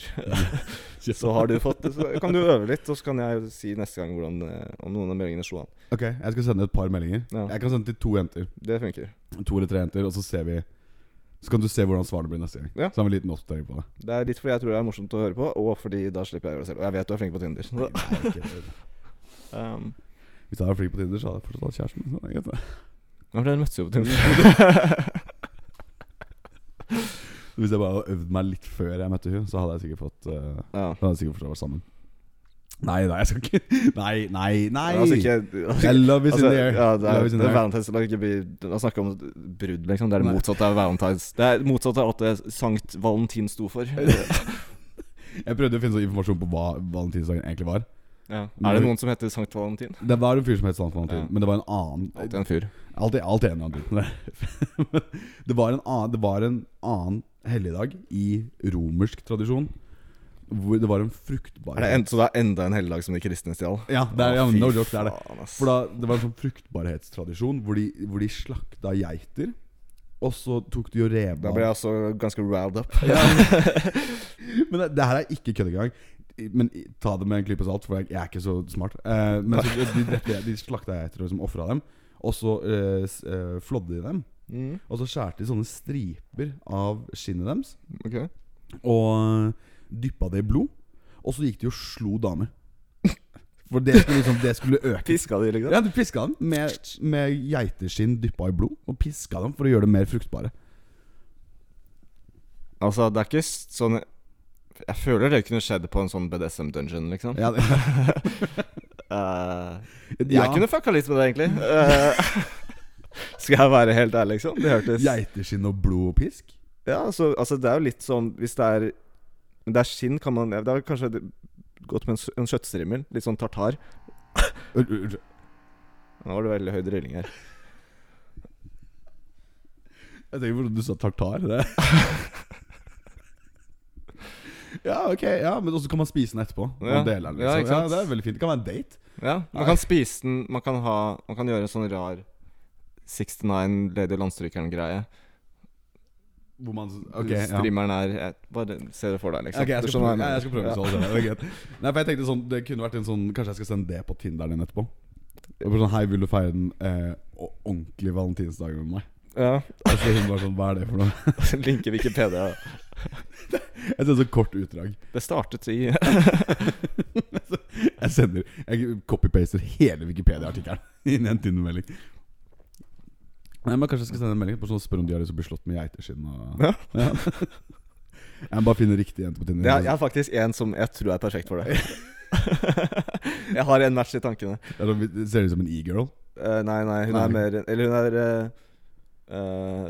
[SPEAKER 2] så har du fått Så kan du øve litt, og så kan jeg si neste gang hvordan, eh, om noen av meldingene slo an.
[SPEAKER 1] Ok, jeg skal sende et par meldinger.
[SPEAKER 2] Ja.
[SPEAKER 1] Jeg kan sende til to jenter.
[SPEAKER 2] Det funker.
[SPEAKER 1] To eller tre jenter, og så ser vi Så kan du se hvordan svarene blir neste gang.
[SPEAKER 2] Ja.
[SPEAKER 1] Så har vi en liten oppdatering på det.
[SPEAKER 2] Det er litt fordi jeg tror det er morsomt å høre på, og fordi da slipper jeg å gjøre det selv. Og jeg vet du er flink på Tinder. Så, um,
[SPEAKER 1] Hvis jeg var flink på Tinder, så hadde jeg fortsatt hatt kjæresten. Så det er greit, det.
[SPEAKER 2] ja, for dere møttes jo på Tinder.
[SPEAKER 1] Hvis jeg bare hadde øvd meg litt før jeg møtte hun så hadde jeg sikkert fått eh, Da
[SPEAKER 2] ja.
[SPEAKER 1] hadde jeg sikkert fortsatt vært sammen. Nei, nei, jeg skal ikke Nei, nei, nei!
[SPEAKER 2] Altså ikke
[SPEAKER 1] I love is
[SPEAKER 2] altså,
[SPEAKER 1] in the air.
[SPEAKER 2] ja, det er,
[SPEAKER 1] Love is in
[SPEAKER 2] det
[SPEAKER 1] the
[SPEAKER 2] er
[SPEAKER 1] air.
[SPEAKER 2] valentines La oss ikke bli- la oss snakke om brudd, liksom. Det er det
[SPEAKER 1] Nei.
[SPEAKER 2] motsatte av valentines. Det er motsatt av at det Sankt Valentin sto for.
[SPEAKER 1] Jeg prøvde å finne sånn informasjon på hva valentinsdagen egentlig var.
[SPEAKER 2] Ja.
[SPEAKER 1] Mm.
[SPEAKER 2] Er det noen som heter Sankt Valentin?
[SPEAKER 1] Det var en fyr som het Sankt Valentin,
[SPEAKER 2] Ja.
[SPEAKER 1] men det var en annen
[SPEAKER 2] Alltid en fyr.
[SPEAKER 1] Alt i alt enig om det. Det var en annen, det var en annen helligdag i romersk tradisjon hvor det var en fruktbar
[SPEAKER 2] Er det en, så det er enda en helligdag som de kristne stjal?
[SPEAKER 1] Ja, det er, ja
[SPEAKER 2] Å,
[SPEAKER 1] men
[SPEAKER 2] fy
[SPEAKER 1] no joke, det er det.
[SPEAKER 2] faen, ass.
[SPEAKER 1] For da, Det var en sånn fruktbarhetstradisjon hvor de, hvor de slakta geiter, og så tok de og rev
[SPEAKER 2] Da
[SPEAKER 1] av
[SPEAKER 2] ble jeg også ganske riled up.
[SPEAKER 1] ja. Men det, det her er ikke kødd engang. Men i- ta det med en klype salt, for jeg, jeg er ikke så smart. Eh, men så, de, de, de slakta geiter og liksom ofra dem. Og så eh, s- eh, flådde de dem.
[SPEAKER 2] Mm,
[SPEAKER 1] Og så skjærte de sånne striper av skinnet deres
[SPEAKER 2] ok
[SPEAKER 1] og dyppa det i blod. Og så gikk de og slo damer. For det skulle liksom Det skulle øke.
[SPEAKER 2] Piska de, liksom?
[SPEAKER 1] Ja, De piska dem med, med geiteskinn dyppa i blod. Og piska dem for å gjøre dem mer fruktbare.
[SPEAKER 2] Altså, det er ikke s- sånn Jeg føler det kunne skjedd på en sånn BDSM-dungeon, liksom.
[SPEAKER 1] Ja, det-
[SPEAKER 2] Eh, jeg
[SPEAKER 1] ja,
[SPEAKER 2] kunne fucka litt med det, egentlig. Eh, skal jeg være helt ærlig, liksom? Det hørtes
[SPEAKER 1] Geiteskinn og blod og pisk?
[SPEAKER 2] Ja, altså, altså det er jo litt sånn Hvis det er Men det er skinn, kan man Det er kanskje det- godt med en, s- en kjøttstrimmel. Litt sånn tartar.
[SPEAKER 1] Ur- ur- ur-
[SPEAKER 2] Nå var det veldig høy drilling her.
[SPEAKER 1] Jeg tenker hvordan du sa tartar. Det. ja, ok. Ja, Men også kan man spise den etterpå.
[SPEAKER 2] Ja.
[SPEAKER 1] Og dele den
[SPEAKER 2] Ja,
[SPEAKER 1] liksom.
[SPEAKER 2] ikke
[SPEAKER 1] ja,
[SPEAKER 2] sant?
[SPEAKER 1] Det er veldig fint. Det kan være en date.
[SPEAKER 2] Ja, man kan spise den, man kan ha Man kan gjøre en sånn rar 69 Lady Landstrykeren-greie.
[SPEAKER 1] Hvor man Ok, ja.
[SPEAKER 2] Strimmeren er jeg, Bare se det for deg, liksom.
[SPEAKER 1] Ok, jeg
[SPEAKER 2] Du
[SPEAKER 1] skal,
[SPEAKER 2] skjønner hva
[SPEAKER 1] prøve, ja, jeg
[SPEAKER 2] jeg
[SPEAKER 1] skal prøve
[SPEAKER 2] mener.
[SPEAKER 1] så det er greit. Nei, for jeg tenkte sånn Det kunne vært en sånn Kanskje jeg skal sende det på Tinderen din etterpå? Og bare sånn Hei, vil du feire den eh, o- ordentlige valentinsdagen med meg?
[SPEAKER 2] Ja.
[SPEAKER 1] Og så hun bare sånn Hva er det for noe?
[SPEAKER 2] ja. Linke Wikipedia.
[SPEAKER 1] Jeg sender sånn kort utdrag.
[SPEAKER 2] Det startet i
[SPEAKER 1] Jeg sender Jeg copypaster hele Wikipedia-artikkelen inn i en Tinder-melding. Nei, men Kanskje jeg skal sende en melding på sånn og spørre om de har lyst til å bli slått med geiteskinn. Og...
[SPEAKER 2] Ja.
[SPEAKER 1] Ja. Jeg må bare finne riktig jente på Tinder.
[SPEAKER 2] Det er, Jeg har faktisk en som jeg tror er perfekt for det. jeg har en match i tankene.
[SPEAKER 1] Det er sånn- det ser ut som en e-girl.
[SPEAKER 2] Eh, nei, nei, hun er
[SPEAKER 1] Nei.
[SPEAKER 2] mer Eller hun er eh, eh,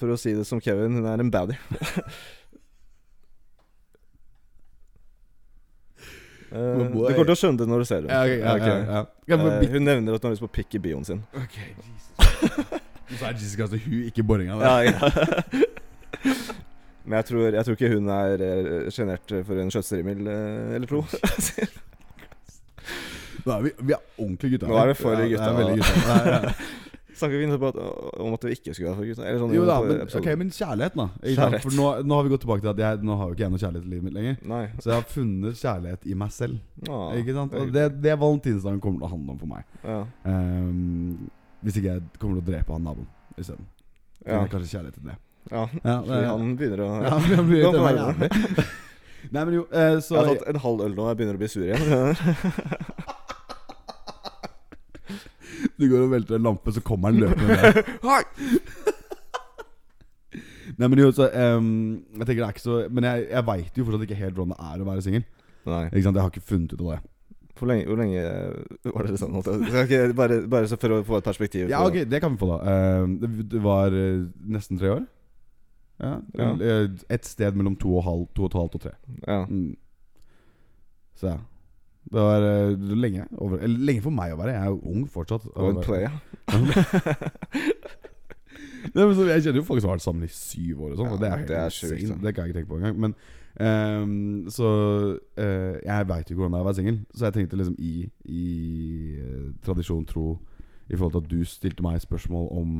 [SPEAKER 2] For å si det som Kevin, hun er en baddy. Eh, du
[SPEAKER 1] boy.
[SPEAKER 2] kommer til å skjønne det når du ser henne.
[SPEAKER 1] Ja, ok, ja,
[SPEAKER 2] Ok.
[SPEAKER 1] ja, ja. Kan jeg
[SPEAKER 2] Eh,
[SPEAKER 1] bare bitte-
[SPEAKER 2] hun nevner at hun har lyst på pikk i bioen sin.
[SPEAKER 1] Ok, Jesus Du sa Jessica, altså hun, ikke boringa. da.
[SPEAKER 2] Ja, ja. Men jeg tror, jeg tror ikke hun er eh, sjenert for en kjøttstrimmel eh, eller to.
[SPEAKER 1] Nå er vi, vi er ordentlige gutter.
[SPEAKER 2] Nå er vi for
[SPEAKER 1] ja,
[SPEAKER 2] gutta,
[SPEAKER 1] Det er veldig
[SPEAKER 2] da.
[SPEAKER 1] gutta. Ja, ja.
[SPEAKER 2] Snakker vi nettopp at- om at vi ikke skulle være for gutta? Eller sånn,
[SPEAKER 1] Jo da,
[SPEAKER 2] i
[SPEAKER 1] men,
[SPEAKER 2] episoden.
[SPEAKER 1] ok, men kjærligheten, da. Ikke sant?
[SPEAKER 2] Kjærlighet.
[SPEAKER 1] For nå, nå har vi gått tilbake til at jeg, nå har jo ikke jeg noe kjærlighet i livet mitt lenger.
[SPEAKER 2] Nei.
[SPEAKER 1] Så jeg har funnet kjærlighet i meg selv.
[SPEAKER 2] Ah,
[SPEAKER 1] Ikke sant?
[SPEAKER 2] det er
[SPEAKER 1] Og det, det er valentinsdagen kommer til å handle om for meg.
[SPEAKER 2] Ja.
[SPEAKER 1] Ehm, Hvis ikke jeg kommer til å drepe han naboen isteden.
[SPEAKER 2] Ja.
[SPEAKER 1] Ja. Kanskje kjærlighet til det.
[SPEAKER 2] ja.
[SPEAKER 1] Ja,
[SPEAKER 2] Fordi han begynner å
[SPEAKER 1] ja, han blir
[SPEAKER 2] Nå
[SPEAKER 1] litt
[SPEAKER 2] får
[SPEAKER 1] jævlig. Nei, men jo, eh, så
[SPEAKER 2] Jeg har tatt en halv øl nå, jeg begynner å bli sur igjen.
[SPEAKER 1] Du går og velter en lampe, så kommer han løpende ned.
[SPEAKER 2] Hei!
[SPEAKER 1] Nei, men jo, så ehm, Jeg tenker det er ikke så Men jeg, jeg veit jo fortsatt ikke helt hvordan det er å være singel.
[SPEAKER 2] Nei.
[SPEAKER 1] Ikke sant? Jeg har ikke funnet ut av det.
[SPEAKER 2] Hvor lenge, hvor lenge eh, var dere sammen? holdt jeg- Skal ikke bare, bare så for å få et perspektiv.
[SPEAKER 1] Ja,
[SPEAKER 2] på-
[SPEAKER 1] ok, det kan vi få, da. Ehm, det- det var eh, nesten tre år. Ja,
[SPEAKER 2] Ja.
[SPEAKER 1] eh, Et sted mellom to og, halv, to og et halvt og tre.
[SPEAKER 2] Ja.
[SPEAKER 1] Mm. Så ja. Det var eh, lenge. Over, eller, lenge for meg å være. Jeg er jo ung fortsatt.
[SPEAKER 2] Og en play, ja.
[SPEAKER 1] Nei, men så, jeg kjenner jo folk som har vært sammen i syv år og sånn.
[SPEAKER 2] Ja,
[SPEAKER 1] og det er jo helt
[SPEAKER 2] det
[SPEAKER 1] det
[SPEAKER 2] er sjukt, da.
[SPEAKER 1] Det kan jeg ikke tenke på engang. Men ehm, så eh, Jeg veit jo ikke hvordan det er å være singel, så jeg tenkte liksom i, i eh, tradisjon tro i forhold til at du stilte meg spørsmål om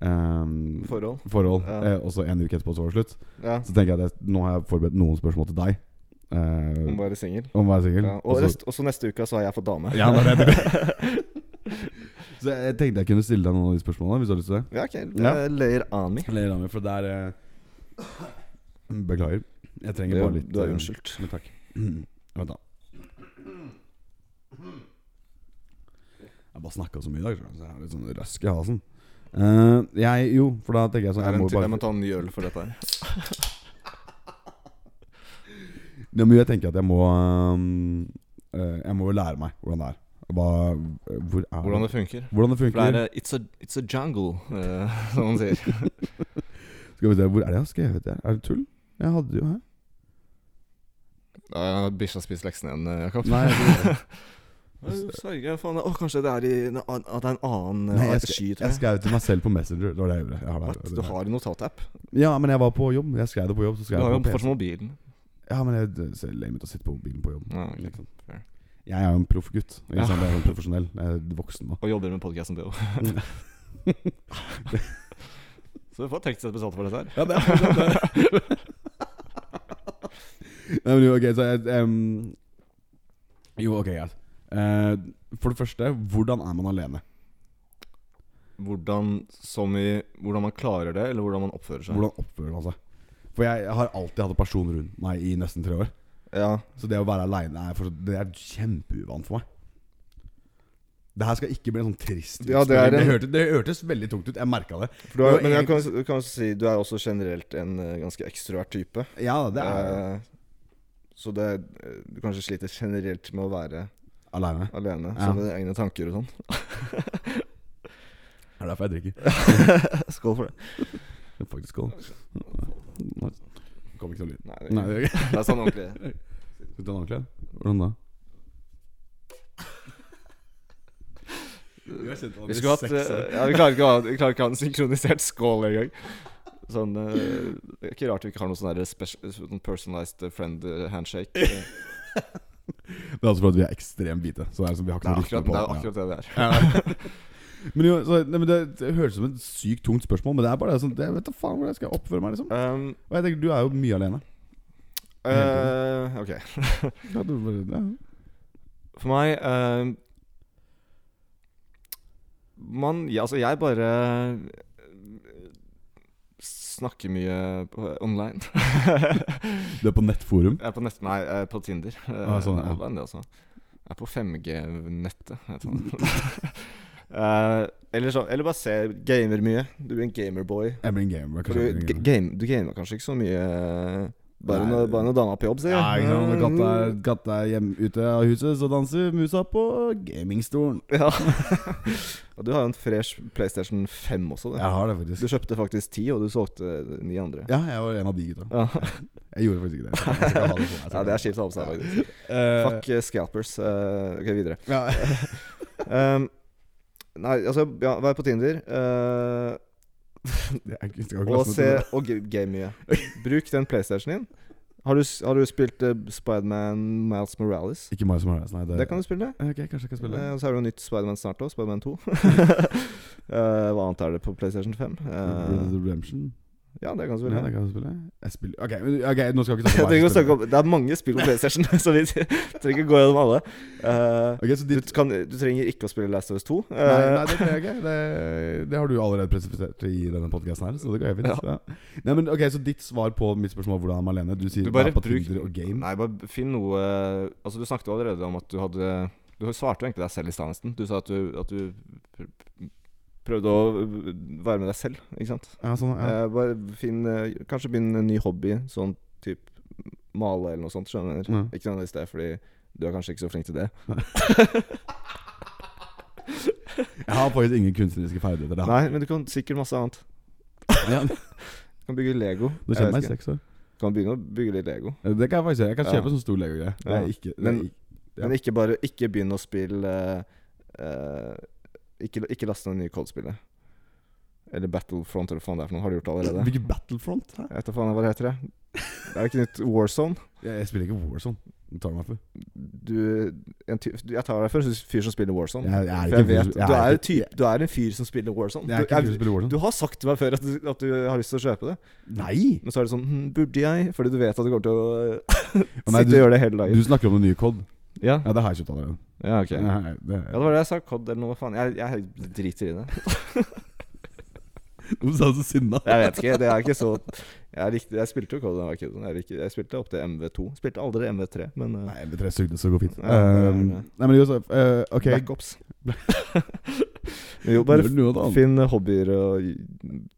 [SPEAKER 1] ehm,
[SPEAKER 2] Forhold.
[SPEAKER 1] forhold,
[SPEAKER 2] Ja.
[SPEAKER 1] eh, og så en uke etterpå så var det slutt,
[SPEAKER 2] Ja.
[SPEAKER 1] så tenker jeg at jeg- nå har jeg forberedt noen spørsmål til deg eh,
[SPEAKER 2] Om å være singel.
[SPEAKER 1] om å være singel.
[SPEAKER 2] Ja. Og,
[SPEAKER 1] og så-
[SPEAKER 2] rest- og så neste uke så har jeg fått dame.
[SPEAKER 1] Ja, det er det. så jeg tenkte jeg kunne stille deg noen av de spørsmålene, hvis du har lyst til det.
[SPEAKER 2] Ja, ok. Det
[SPEAKER 1] Ja.
[SPEAKER 2] er layer on me.
[SPEAKER 1] Eller damer, for der eh, Beklager. Jeg trenger bare litt
[SPEAKER 2] Du er
[SPEAKER 1] eh,
[SPEAKER 2] unnskyldt.
[SPEAKER 1] Men takk. Vent, da. Jeg bare snakka så mye i dag, så jeg har litt sånn røsk i halsen. Eh, jeg Jo, for da tenker jeg sånn Jeg må
[SPEAKER 2] Jeg må
[SPEAKER 1] bare
[SPEAKER 2] ta en ny øl for dette her.
[SPEAKER 1] Ja, men jeg tenker at jeg må ehm, eh, Jeg må jo lære meg hvordan det er. Hva Hvor er
[SPEAKER 2] Hvordan det funker.
[SPEAKER 1] Hvordan det
[SPEAKER 2] For
[SPEAKER 1] funker.
[SPEAKER 2] det er eh, It's a, it's a jungle, eh, som man sier.
[SPEAKER 1] Skal vi se, hvor er det jeg har skrevet det? Er det tull? Jeg hadde det jo her.
[SPEAKER 2] Ja, Bikkja spiser leksene igjen, eh, Jakob.
[SPEAKER 1] Nei, jeg tror ikke
[SPEAKER 2] Sverger jeg faen Å, kanskje det er, i, en annen- at det er en annen eh,
[SPEAKER 1] Nei, jeg,
[SPEAKER 2] sky,
[SPEAKER 1] sk-
[SPEAKER 2] tror
[SPEAKER 1] jeg
[SPEAKER 2] jeg.
[SPEAKER 1] skrev til meg selv på Messenger. Det var det jeg gjorde. Jeg har det her.
[SPEAKER 2] What? Du har en notatapp?
[SPEAKER 1] Ja, men jeg var på jobb. Jeg skrev det på jobb. Så
[SPEAKER 2] Du
[SPEAKER 1] skrev
[SPEAKER 2] har jo
[SPEAKER 1] jeg det på PC.
[SPEAKER 2] fortsatt mobilen.
[SPEAKER 1] Ja, men jeg det ser lame ut å sitte på mobilen på jobb.
[SPEAKER 2] Ja,
[SPEAKER 1] Ikke
[SPEAKER 2] ok.
[SPEAKER 1] sant?
[SPEAKER 2] Mm, liksom, Fair.
[SPEAKER 1] Jeg er jo en proff gutt. Ikke
[SPEAKER 2] Ja.
[SPEAKER 1] sant? Jeg er jo en profesjonell. Jeg er voksen nå.
[SPEAKER 2] Og jobber med podkasten til henne. Så du får tekstsett betalt for dette her.
[SPEAKER 1] Ja, det er Nei, men jo, ok, så jeg em, Jo, ok, greit. Eh, for det første, hvordan er man alene?
[SPEAKER 2] Hvordan, som i, hvordan man klarer det, eller hvordan man oppfører seg.
[SPEAKER 1] Hvordan oppfører man seg? For jeg har alltid hatt en person rundt meg i nesten tre år.
[SPEAKER 2] Ja,
[SPEAKER 1] Så det å være aleine er, fortsatt- det er kjempeuvant for meg. Det her skal ikke bli en sånn trist
[SPEAKER 2] Ja, det er
[SPEAKER 1] utspørring.
[SPEAKER 2] en-
[SPEAKER 1] hørte, det hørtes veldig tungt ut. Jeg merka det.
[SPEAKER 2] for du har,
[SPEAKER 1] Det var
[SPEAKER 2] men jeg
[SPEAKER 1] egentlig-
[SPEAKER 2] kan, du kan også si du er også generelt en eh, ganske ekstrovert type.
[SPEAKER 1] Ja, det er
[SPEAKER 2] Eh, så det, eh, du kanskje sliter generelt med å være
[SPEAKER 1] aleine.
[SPEAKER 2] alene.
[SPEAKER 1] Ja.
[SPEAKER 2] Sånne egne tanker og sånn.
[SPEAKER 1] Det er derfor jeg drikker.
[SPEAKER 2] Skål for det.
[SPEAKER 1] Det er Faktisk skål. Det kom ikke noe lyd.
[SPEAKER 2] Nei,
[SPEAKER 1] Nei,
[SPEAKER 2] det,
[SPEAKER 1] det er ikke
[SPEAKER 2] det er sånn ordentlig.
[SPEAKER 1] Skal du ta en annen kledd? Hvordan da?
[SPEAKER 2] Vi skulle hatt eh, ja, vi, klarer ikke å ha, vi klarer ikke å ha en synkronisert skål engang. Sånn, eh, det er ikke rart vi ikke har noe sånn der spes- sånn personalized eh, friend eh, handshake. Eh,
[SPEAKER 1] Det er altså fordi vi er ekstremt hvite. Så det er liksom, vi har ikke
[SPEAKER 2] Det er
[SPEAKER 1] noe rykte
[SPEAKER 2] akkurat
[SPEAKER 1] på
[SPEAKER 2] det er
[SPEAKER 1] det.
[SPEAKER 2] akkurat det det er.
[SPEAKER 1] Ja. Men jo, så, nei, men det, det høres ut som et sykt tungt spørsmål, men det er bare det sånn Jeg vet da faen hvordan jeg skal oppføre meg, liksom.
[SPEAKER 2] Um,
[SPEAKER 1] Og jeg tenker, du er jo mye alene.
[SPEAKER 2] eh, ok.
[SPEAKER 1] Ja, du, bare- ja.
[SPEAKER 2] For meg eh, Man ja, Altså, jeg bare eh, snakker mye på- online. jeg
[SPEAKER 1] Du er på nettforum.
[SPEAKER 2] er på nett... Nei, jeg er på Tinder. Eh,
[SPEAKER 1] Ah, sånn, ja.
[SPEAKER 2] Online, det også. Jeg er på 5G-nettet. jeg vet ikke. Eh, eller, så, eller bare se gamer mye. Du er en gamerboy.
[SPEAKER 1] Jeg blir en gamer.
[SPEAKER 2] For Du,
[SPEAKER 1] Kanskje.
[SPEAKER 2] ga- game, du gamer kanskje ikke så mye eh, bare
[SPEAKER 1] Nei.
[SPEAKER 2] når, bare når dama er på jobb, sier
[SPEAKER 1] Ja, ikke sant. Når Katta, er- katta er hjemme ute av huset, så danser musa på gamingstolen.
[SPEAKER 2] Ja. Og du har jo en fresh PlayStation 5 også. Du,
[SPEAKER 1] Jeg har det,
[SPEAKER 2] du
[SPEAKER 1] faktisk.
[SPEAKER 2] kjøpte faktisk ti, og du solgte ni andre.
[SPEAKER 1] Ja, jeg var en av de gutta.
[SPEAKER 2] Ja,
[SPEAKER 1] Jeg gjorde faktisk ikke det. Jeg skal ha det på meg, jeg skal
[SPEAKER 2] ja det
[SPEAKER 1] ha
[SPEAKER 2] er kjipt å ha på seg, faktisk.
[SPEAKER 1] Eh,
[SPEAKER 2] Fuck eh, scalpers. Eh, ok, videre.
[SPEAKER 1] Ja.
[SPEAKER 2] Um, nei, altså, ja, vær på Tinder. eh,
[SPEAKER 1] Det er ikke- skal ikke
[SPEAKER 2] og
[SPEAKER 1] laste meg
[SPEAKER 2] se
[SPEAKER 1] til det.
[SPEAKER 2] Og g- game mye. Bruk den PlayStationen din. Har du, s- har du spilt uh, Spiderman Miles Morales?
[SPEAKER 1] Ikke Miles Morales, nei. Det,
[SPEAKER 2] Det kan du spille.
[SPEAKER 1] Ok, kanskje jeg kan Eh. spille
[SPEAKER 2] Eh, Og så er det jo nytt Spiderman snart òg. Spiderman 2. Eh, hva annet er det på PlayStation 5?
[SPEAKER 1] Red
[SPEAKER 2] Eh,
[SPEAKER 1] Dead Redemption.
[SPEAKER 2] Ja, det kan du
[SPEAKER 1] Ja,
[SPEAKER 2] spille.
[SPEAKER 1] det kan jeg spille. Jeg spiller Ok, men- ok, nå skal vi ikke snakke
[SPEAKER 2] jeg
[SPEAKER 1] hva jeg
[SPEAKER 2] trenger å
[SPEAKER 1] spiller.
[SPEAKER 2] snakke om Det er mange spill på PlayStation, så vi trenger ikke gå gjennom alle. Eh,
[SPEAKER 1] Ok, så
[SPEAKER 2] du,
[SPEAKER 1] ditt
[SPEAKER 2] kan, du trenger ikke å spille Last of Us 2. eh,
[SPEAKER 1] Nei, nei, det trenger jeg ikke. Det, det har du allerede presifisert i denne podkasten her. Så det går helt fint. Ja. Nei, men ok, Så ditt svar på mitt spørsmål hvordan er Malene? Du sier
[SPEAKER 3] Du
[SPEAKER 1] du er
[SPEAKER 3] bare
[SPEAKER 1] på
[SPEAKER 3] bruk-
[SPEAKER 1] Tinder og game.
[SPEAKER 3] Nei, bare finn noe
[SPEAKER 2] eh,
[SPEAKER 3] Altså, du snakket jo allerede om at du hadde Du svarte jo egentlig deg selv i stad, nesten. Du sa at du, at du pr- pr- prøvde å
[SPEAKER 2] være med deg selv, ikke sant.
[SPEAKER 1] Ja, sånn, ja.
[SPEAKER 2] Eh, bare finn eh, Kanskje begynn en ny hobby, sånn type male eller noe sånt. Skjønner du? hva
[SPEAKER 1] Mm.
[SPEAKER 2] jeg mener? Ikke nødvendigvis det, fordi du er kanskje ikke så flink til det.
[SPEAKER 1] Jeg har faktisk ingen kunstneriske ferdigheter. Da.
[SPEAKER 2] Nei, men du kan sikkert masse annet.
[SPEAKER 1] Ja,
[SPEAKER 2] Du kan bygge Lego.
[SPEAKER 1] du
[SPEAKER 2] Jeg
[SPEAKER 1] kjenner
[SPEAKER 2] vet
[SPEAKER 1] meg i
[SPEAKER 2] ikke.
[SPEAKER 1] seks år.
[SPEAKER 2] Du kan begynne å bygge litt Lego.
[SPEAKER 1] Det kan jeg faktisk gjøre. Jeg kan
[SPEAKER 2] Ja.
[SPEAKER 1] kjøpe sånn stor legogreie. Det
[SPEAKER 2] Ja.
[SPEAKER 1] er ikke det er
[SPEAKER 2] Men-
[SPEAKER 1] ikke- Ja.
[SPEAKER 2] Men ikke bare Ikke begynn å spille eh, ikke, ikke last ned det nye Cold-spillet. Eller Battlefront, eller hva faen det er for noe. Har du gjort det allerede?
[SPEAKER 1] Hvilken Battlefront? Hæ?
[SPEAKER 2] Jeg vet da faen hva det heter, jeg. Det er ikke nytt Warzone.
[SPEAKER 1] Jeg, jeg spiller ikke Warzone. Det tar du meg for.
[SPEAKER 2] Du, en ty du, jeg tar deg for en fyr som spiller Warzone.
[SPEAKER 1] Jeg, jeg er
[SPEAKER 2] for jeg
[SPEAKER 1] ikke
[SPEAKER 2] vet,
[SPEAKER 1] jeg
[SPEAKER 2] du,
[SPEAKER 1] er
[SPEAKER 2] er
[SPEAKER 1] ikke-
[SPEAKER 2] typ, du er en fyr som spiller Warzone.
[SPEAKER 1] Jeg er
[SPEAKER 2] Du,
[SPEAKER 1] ikke en fyr som spiller Warzone.
[SPEAKER 2] du har sagt til meg før at du, at du har lyst til å kjøpe det.
[SPEAKER 1] Nei!
[SPEAKER 2] Men så er det sånn hm, Burde jeg? Fordi du vet at du kommer til å eh,
[SPEAKER 1] Å,
[SPEAKER 2] sitte
[SPEAKER 1] nei,
[SPEAKER 2] og
[SPEAKER 1] du,
[SPEAKER 2] gjøre det hele dagen.
[SPEAKER 1] du snakker om den nye COD.
[SPEAKER 2] Ja.
[SPEAKER 1] Ja, det har jeg kjøpt allerede.
[SPEAKER 2] ja, ok. Ja,
[SPEAKER 1] Nei, det-
[SPEAKER 2] det var det jeg sa. Cod eller noe, faen. Jeg, jeg driter i det.
[SPEAKER 1] Hvorfor sa du så sinna?
[SPEAKER 2] Jeg vet ikke. Det er ikke så Jeg, likte, jeg spilte jo Call of Duty Arcade. Jeg, likte, jeg spilte opp til MV2. Spilte aldri MV3, men uh,
[SPEAKER 1] Nei, men tre sugde, så det går fint.
[SPEAKER 2] Ja, det er
[SPEAKER 1] Um,
[SPEAKER 2] det.
[SPEAKER 1] nei, men Josef, eh, ok
[SPEAKER 2] Black Ops. jo, bare
[SPEAKER 1] Gjør noe annet.
[SPEAKER 2] finn hobbyer og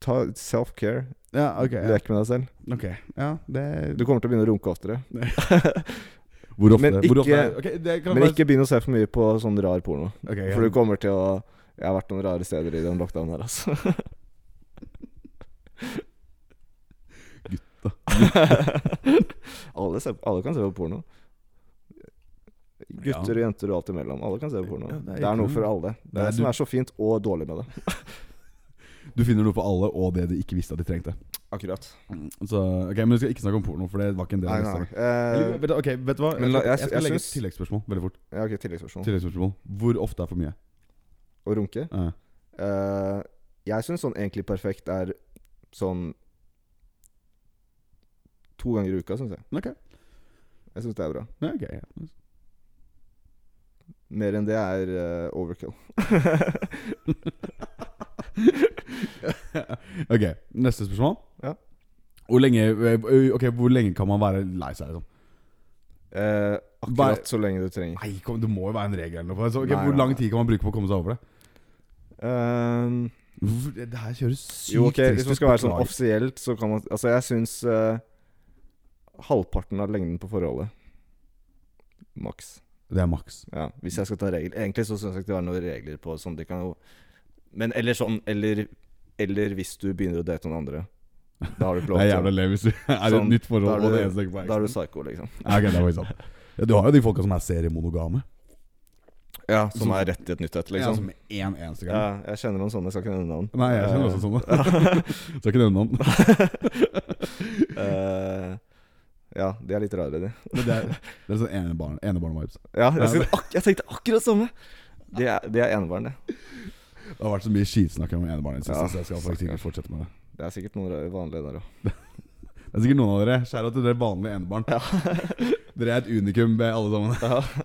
[SPEAKER 2] ta self-care.
[SPEAKER 1] Ja, ok. Ja.
[SPEAKER 2] Lek med deg selv.
[SPEAKER 1] Ok, ja det
[SPEAKER 2] Du kommer til å begynne å runke oftere.
[SPEAKER 1] Hvor ofte?
[SPEAKER 2] Men
[SPEAKER 1] Hvor
[SPEAKER 2] ikke-
[SPEAKER 1] ofte? er- Ok, det kan
[SPEAKER 2] Men
[SPEAKER 1] være-
[SPEAKER 2] ikke begynn å se for mye på sånn rar porno.
[SPEAKER 1] Ok, ja.
[SPEAKER 2] For du kommer til å Jeg har vært noen rare steder i den lockdownen her, altså. Gutta. alle, ser, alle kan se på porno. Gutter og jenter og alt imellom. Alle kan se på porno.
[SPEAKER 1] Ja,
[SPEAKER 2] det,
[SPEAKER 1] det er
[SPEAKER 2] er
[SPEAKER 1] ikke
[SPEAKER 2] noe
[SPEAKER 1] noe-
[SPEAKER 2] for alle. Det,
[SPEAKER 1] Nei,
[SPEAKER 2] er det som
[SPEAKER 1] du-
[SPEAKER 2] er så fint og dårlig med det.
[SPEAKER 1] Du finner noe for alle, og det de ikke visste at de trengte.
[SPEAKER 2] Akkurat.
[SPEAKER 1] Så, ok, Men du skal ikke snakke om porno, for det var ikke en del
[SPEAKER 2] Nei,
[SPEAKER 1] av
[SPEAKER 2] nei.
[SPEAKER 1] lista.
[SPEAKER 2] Eh,
[SPEAKER 1] Eller, vet du- Ok, vet du hva?
[SPEAKER 2] men
[SPEAKER 1] Jeg
[SPEAKER 2] la-
[SPEAKER 1] skal,
[SPEAKER 2] jeg-
[SPEAKER 1] jeg skal
[SPEAKER 2] jeg
[SPEAKER 1] legge et
[SPEAKER 2] syns-
[SPEAKER 1] tilleggsspørsmål veldig fort.
[SPEAKER 2] ja, ok, Tilleggsspørsmål.
[SPEAKER 1] Tilleggsspørsmål Hvor ofte er for mye?
[SPEAKER 2] Å runke.
[SPEAKER 1] Ja.
[SPEAKER 2] Eh, jeg syns sånn egentlig perfekt er sånn To ganger i uka, syns jeg.
[SPEAKER 1] Ok.
[SPEAKER 2] Jeg syns det er bra.
[SPEAKER 1] Ja, ok, ja.
[SPEAKER 2] Mer enn det er eh, overkill.
[SPEAKER 1] ok, neste spørsmål.
[SPEAKER 2] Ja.
[SPEAKER 1] Hvor lenge, eh, ok, hvor lenge kan man være lei seg? Liksom?
[SPEAKER 2] Eh,
[SPEAKER 1] Bare-
[SPEAKER 2] akkurat så lenge du trenger.
[SPEAKER 1] Nei, kom, Det må jo være en regel. eller noe. Så, ok,
[SPEAKER 2] Nei,
[SPEAKER 1] hvor
[SPEAKER 2] nei,
[SPEAKER 1] lang
[SPEAKER 2] nei.
[SPEAKER 1] tid kan man bruke på å komme seg over det?
[SPEAKER 2] Ehm,
[SPEAKER 1] Hvorfor- Det det her kjøres sykt
[SPEAKER 2] jo, ok, Hvis
[SPEAKER 1] trist ut,
[SPEAKER 2] man skal være sånn
[SPEAKER 1] beklager.
[SPEAKER 2] offisielt, så kan man Altså, jeg syns eh, halvparten av lengden på forholdet. Maks.
[SPEAKER 1] Det er maks.
[SPEAKER 2] Ja, hvis jeg skal ta regel Egentlig så syns jeg ikke det er noen regler på sånn. Det kan jo Men eller sånn Eller, eller hvis du begynner å date noen andre. Da har du ikke
[SPEAKER 1] Det
[SPEAKER 2] lov
[SPEAKER 1] er
[SPEAKER 2] til
[SPEAKER 1] jævla
[SPEAKER 2] det.
[SPEAKER 1] lei hvis du er i
[SPEAKER 2] Sånn,
[SPEAKER 1] et nytt
[SPEAKER 2] da er
[SPEAKER 1] forhold og det
[SPEAKER 2] du-
[SPEAKER 1] eneste ikke
[SPEAKER 2] Da er du psycho, liksom.
[SPEAKER 1] Ja, ok, det er faktisk sant. Ja, du har jo de folka som er seriemonogame.
[SPEAKER 2] Ja, Som
[SPEAKER 1] Som-
[SPEAKER 2] er rett i et nytt et,
[SPEAKER 1] Ja,
[SPEAKER 2] liksom.
[SPEAKER 1] som én eneste
[SPEAKER 2] Ja,
[SPEAKER 1] gang.
[SPEAKER 2] jeg kjenner noen sånne, jeg skal ikke nevne navn.
[SPEAKER 1] Nei, jeg kjenner også sånne. Skal ikke nevne navn.
[SPEAKER 2] Eh, ja, de er litt rare, de.
[SPEAKER 1] Men Det er, det er sånn enebarn- enebarn-vibes.
[SPEAKER 2] Ja, jeg, skulle, ak jeg tenkte akkurat det samme! De er, de er enebarn, det.
[SPEAKER 1] det har vært så mye skitsnakk om enebarn i det siste,
[SPEAKER 2] Ja,
[SPEAKER 1] så jeg skal faktisk ikke fortsette med det.
[SPEAKER 2] Det er sikkert noen rare vanlige der òg.
[SPEAKER 1] Det er sikkert noen av dere. Skjæra til dere vanlige enebarn. Dere er et unikum, be alle sammen.
[SPEAKER 2] Ja.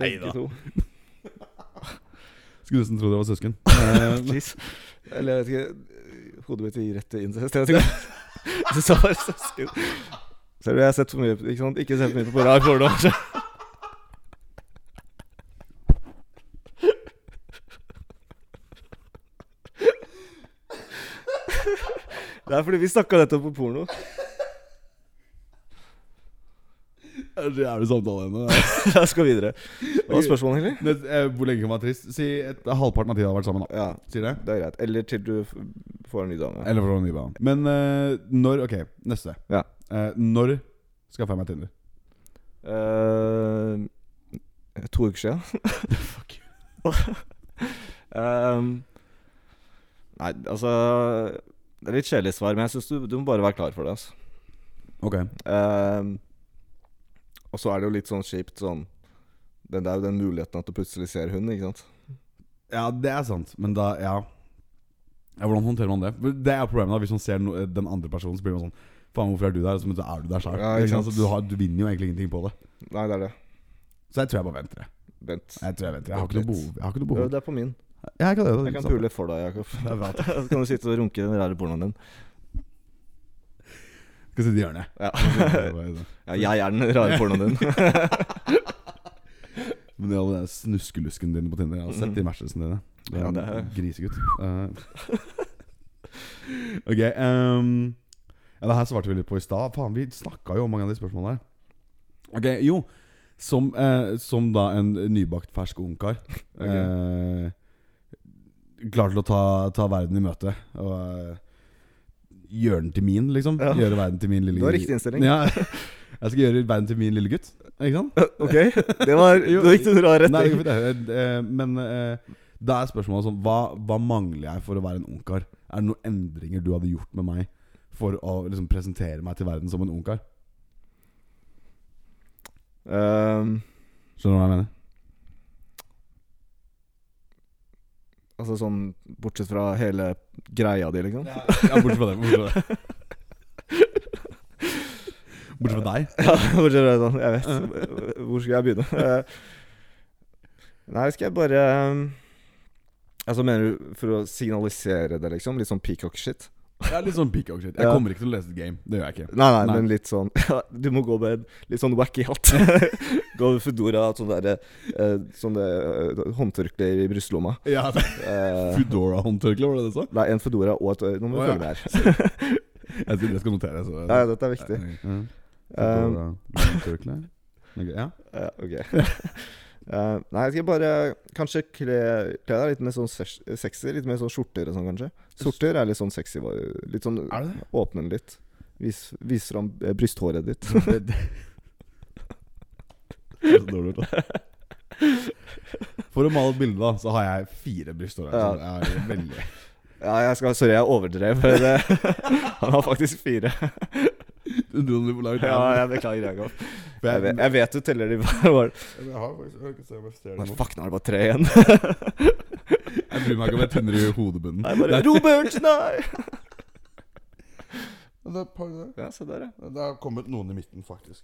[SPEAKER 1] Neida.
[SPEAKER 2] Begge to.
[SPEAKER 1] Skulle nesten tro dere var søsken. Eh,
[SPEAKER 2] Please. Eller jeg vet ikke Hodet mitt gir rett til incest. Jeg vet ikke. Du sa bare søsken. Ser du, jeg har sett for mye Ikke sant? Ikke sett for mye på rar fordom. Det er fordi vi snakka nettopp på porno.
[SPEAKER 1] Det er så jævlig samtaleemne.
[SPEAKER 2] Jeg skal videre. Hva var spørsmålet, egentlig?
[SPEAKER 1] Nest- eh, Hvor lenge kan man være trist? Si et, halvparten av tida har vært sammen, da.
[SPEAKER 2] Ja,
[SPEAKER 1] Sier det?
[SPEAKER 2] det er greit. Eller til du f- får en ny dame.
[SPEAKER 1] Eller for å nybe han. Men eh, når Ok, neste.
[SPEAKER 2] Ja.
[SPEAKER 1] Eh, når skaffer jeg meg Tinder?
[SPEAKER 2] Eh, to uker siden. Ehm, nei, altså Det er litt kjedelig svar, men jeg syns du, du må bare være klar for det. Altså.
[SPEAKER 1] Ok.
[SPEAKER 2] Ehm, og så er det jo litt sånn kjipt sånn Det det er jo den muligheten at du plutselig ser hun, ikke sant?
[SPEAKER 1] Ja, det er sant, men da Ja. Ja, hvordan håndterer man det? For Det er problemet da Hvis man ser no eh, den andre personen, så blir man sånn Faen, hvorfor er du der? Så men så er du der sjøl.
[SPEAKER 2] Ja, ikke sant.
[SPEAKER 1] du, har- du vinner jo egentlig ingenting på det.
[SPEAKER 2] Nei, det er det.
[SPEAKER 1] Så jeg tror jeg bare venter. jeg.
[SPEAKER 2] Vent.
[SPEAKER 1] Jeg tror jeg venter Jeg har ikke noe behov. Jeg har ikke noe
[SPEAKER 2] Øv
[SPEAKER 1] behov.
[SPEAKER 2] deg på min.
[SPEAKER 1] Ja, Jeg kan, det, det, er
[SPEAKER 2] Jeg kan
[SPEAKER 1] sant.
[SPEAKER 2] pule for deg, Jakob.
[SPEAKER 1] Det er bra.
[SPEAKER 2] Så kan du sitte og runke den rare pornoen din.
[SPEAKER 1] Skal sitte i hjørnet.
[SPEAKER 2] Ja.
[SPEAKER 1] Men
[SPEAKER 2] ja, jeg er den rare pornoen din.
[SPEAKER 1] det er all den snuskelusken din på Tinder. Jeg har sett de matchene dine. Du er
[SPEAKER 2] Mhm. Ja,
[SPEAKER 1] en
[SPEAKER 2] det er-
[SPEAKER 1] grisegutt. Eh, ok. ehm, ja, det her svarte vi litt på i stad. Faen, vi snakka jo om mange av de spørsmålene her. Ok, jo. Som, eh, som da en nybakt fersk ungkar.
[SPEAKER 2] Ok.
[SPEAKER 1] eh, klar til å ta, ta verden i møte. Og eh, gjøre den til min, liksom.
[SPEAKER 2] Ja.
[SPEAKER 1] Gjøre verden til min lille
[SPEAKER 2] Du har riktig innstilling.
[SPEAKER 1] Ja, jeg skal gjøre verden til min lille gutt. Ikke sant?
[SPEAKER 2] Ok, det var
[SPEAKER 1] Jo.
[SPEAKER 2] Da gikk du rar
[SPEAKER 1] Nei, det
[SPEAKER 2] retning.
[SPEAKER 1] går fint, det. Eh, Men eh, da er spørsmålet sånn hva, hva mangler jeg for å være en ungkar? Er det noen endringer du hadde gjort med meg for å liksom, presentere meg til verden som en ungkar?
[SPEAKER 2] Ehm,
[SPEAKER 1] Skjønner du hva jeg mener?
[SPEAKER 2] altså sånn bortsett fra hele greia di, liksom.
[SPEAKER 1] Ja, bortsett fra det. Bortsett fra, det. Bortsett fra deg.
[SPEAKER 2] Ja, bortsett fra sånn, jeg vet. Hvor skal jeg begynne? Eh, Nei, skal jeg bare ehm, Altså, mener du for å signalisere det, liksom? Litt sånn peacock-shit?
[SPEAKER 1] Jeg er litt sånn peacock shit. Jeg
[SPEAKER 2] Ja.
[SPEAKER 1] kommer ikke til å lese et game. Det gjør jeg ikke.
[SPEAKER 2] Nei, nei,
[SPEAKER 1] Nei.
[SPEAKER 2] men litt sånn ja, Du må gå med en litt sånn wacky hatt. gå med Foodora og sånn derre eh, Sånn eh, håndtørkle i brystlomma.
[SPEAKER 1] Ja,
[SPEAKER 2] Eh,
[SPEAKER 1] Foodora-håndtørkle, var det det du sa?
[SPEAKER 2] Nei, en Foodora og et Nå må du
[SPEAKER 1] Å,
[SPEAKER 2] følge
[SPEAKER 1] ja.
[SPEAKER 2] med her.
[SPEAKER 1] Jeg tror det skal notere. Så.
[SPEAKER 2] Nei, dette er viktig.
[SPEAKER 1] Ja.
[SPEAKER 2] Um,
[SPEAKER 1] Foodora-håndtørkle. Ok, Ja.
[SPEAKER 2] Ja, ok. Eh, nei, jeg skal bare kanskje kle, kle deg litt mer sånn ses- sexy. Litt mer sånn skjorter og sånn, kanskje. Sorter er litt sånn sexy. var- Litt sånn
[SPEAKER 1] Er det det?
[SPEAKER 2] åpne den litt. Vis, vis fram eh, brysthåret ditt.
[SPEAKER 1] Det, det. Det er så dårlig gjort, da. For å male et bilde, da, så har jeg fire brysthår.
[SPEAKER 2] Ja.
[SPEAKER 1] Ja. Jeg er veldig
[SPEAKER 2] Ja, jeg skal, sorry, jeg overdrev. Det, han har faktisk fire.
[SPEAKER 1] Undrende hvor langt
[SPEAKER 2] Ja,
[SPEAKER 1] jeg er.
[SPEAKER 2] jeg beklager, Jakob.
[SPEAKER 1] For
[SPEAKER 2] Jeg,
[SPEAKER 1] jeg,
[SPEAKER 2] vet- jeg vet du teller de hver var
[SPEAKER 1] jeg har faktisk jeg kan ikke se om jeg ser
[SPEAKER 2] Nei,
[SPEAKER 1] det nå.
[SPEAKER 2] Fuck, nå er det bare tre igjen.
[SPEAKER 1] Jeg bryr meg ikke om jeg tynner i hodebunnen.
[SPEAKER 2] Nei, bare Robert, nei!
[SPEAKER 1] Det er et par der.
[SPEAKER 2] Ja, se der, ja.
[SPEAKER 1] Det har kommet noen i midten, faktisk.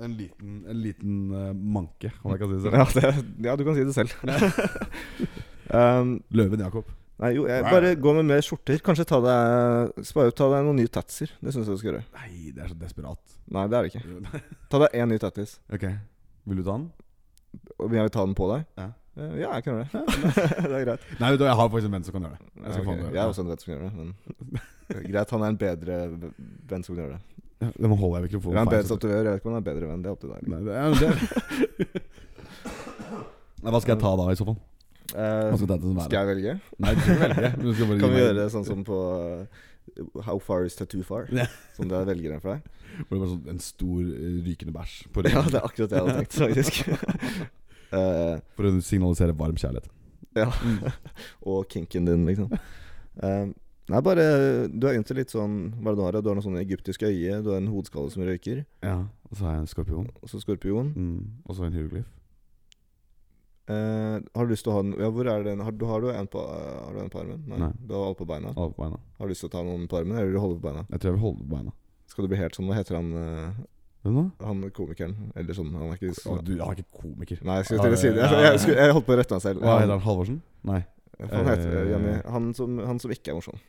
[SPEAKER 1] En liten, en liten eh, manke, om jeg kan si det sånn. selv.
[SPEAKER 2] Ja, det, ja, du kan si det selv. um,
[SPEAKER 1] Løven Jakob.
[SPEAKER 2] Nei, jo, jeg
[SPEAKER 1] Wow.
[SPEAKER 2] bare gå med mer skjorter. Kanskje ta deg Spare opp, ta deg noen nye tatser. Det syns jeg du skal gjøre.
[SPEAKER 1] Nei, det er så desperat.
[SPEAKER 2] Nei, det er det ikke. Ta deg én ny tattis.
[SPEAKER 1] ok, vil du ta den?
[SPEAKER 2] Og jeg vil ta den på deg?
[SPEAKER 1] Ja.
[SPEAKER 2] Eh, Ja, jeg kan gjøre det. det er greit.
[SPEAKER 1] Nei, vet du, hva, jeg har faktisk en venn som kan gjøre det. Jeg skal
[SPEAKER 2] Ja, ok.
[SPEAKER 1] faen gjøre det.
[SPEAKER 2] Jeg er også en venn som gjør det, men Greit, han er en bedre v- venn som gjør det.
[SPEAKER 1] Ja, Nå holder jeg
[SPEAKER 2] Eller
[SPEAKER 1] mikrofonen
[SPEAKER 2] han er
[SPEAKER 1] feil,
[SPEAKER 2] bedre
[SPEAKER 1] så-
[SPEAKER 2] tatoverer, jeg vet ikke om han er bedre venn. Det er opp til deg.
[SPEAKER 1] Nei, det er det. Nei, hva skal jeg ta da, i så fall?
[SPEAKER 2] Eh,
[SPEAKER 1] Hva skal dette være?
[SPEAKER 2] skal jeg velge?
[SPEAKER 1] Nei, du skal ikke velge. Du skal bare gi
[SPEAKER 2] Kan vi
[SPEAKER 1] meg-
[SPEAKER 2] gjøre det sånn som på eh, How far is tattoo far?
[SPEAKER 1] Ja.
[SPEAKER 2] Som det er velgeren for deg?
[SPEAKER 1] Hvor det bare sånn en stor eh, rykende bæsj på
[SPEAKER 2] Ja,
[SPEAKER 1] ryggen
[SPEAKER 2] det er akkurat det jeg hadde tenkt, faktisk. Eh,
[SPEAKER 1] for å signalisere varm kjærlighet. Mm.
[SPEAKER 2] Ja. og kinken din, liksom. Eh, nei, bare Du er egentlig litt sånn Hva er det du har? ja? Du har noe sånn egyptisk øye, du har en hodeskalle som røyker,
[SPEAKER 1] Ja, Og så har jeg en skorpion.
[SPEAKER 2] og så skorpion.
[SPEAKER 1] Mm. Og så en hieroglyf.
[SPEAKER 2] Eh, har du lyst til å ha den Ja, hvor er den? Har du, har du en på, eh, har du en på armen?
[SPEAKER 1] Nei.
[SPEAKER 2] Du har alle på beina.
[SPEAKER 1] Alle på beina.
[SPEAKER 2] Har du lyst til å ta noen på armen, eller vil du holde på beina?
[SPEAKER 1] Jeg tror jeg vil holde på beina.
[SPEAKER 2] Skal du bli helt sånn Hva heter han eh,
[SPEAKER 1] Hvem da?
[SPEAKER 2] Han komikeren? Eller sånn Han er ikke
[SPEAKER 1] Å,
[SPEAKER 2] sånn
[SPEAKER 1] du, jeg er ikke komiker.
[SPEAKER 2] Nei, jeg skulle til å si det.
[SPEAKER 1] Ja,
[SPEAKER 2] Jeg,
[SPEAKER 1] ja, ja.
[SPEAKER 2] jeg, skulle- jeg holdt på å rette meg selv.
[SPEAKER 1] Hva heter
[SPEAKER 2] han?
[SPEAKER 1] han? Halvorsen? Nei.
[SPEAKER 2] Hva faen heter
[SPEAKER 1] Eh,
[SPEAKER 2] Jenny? Han som, han som ikke er morsom.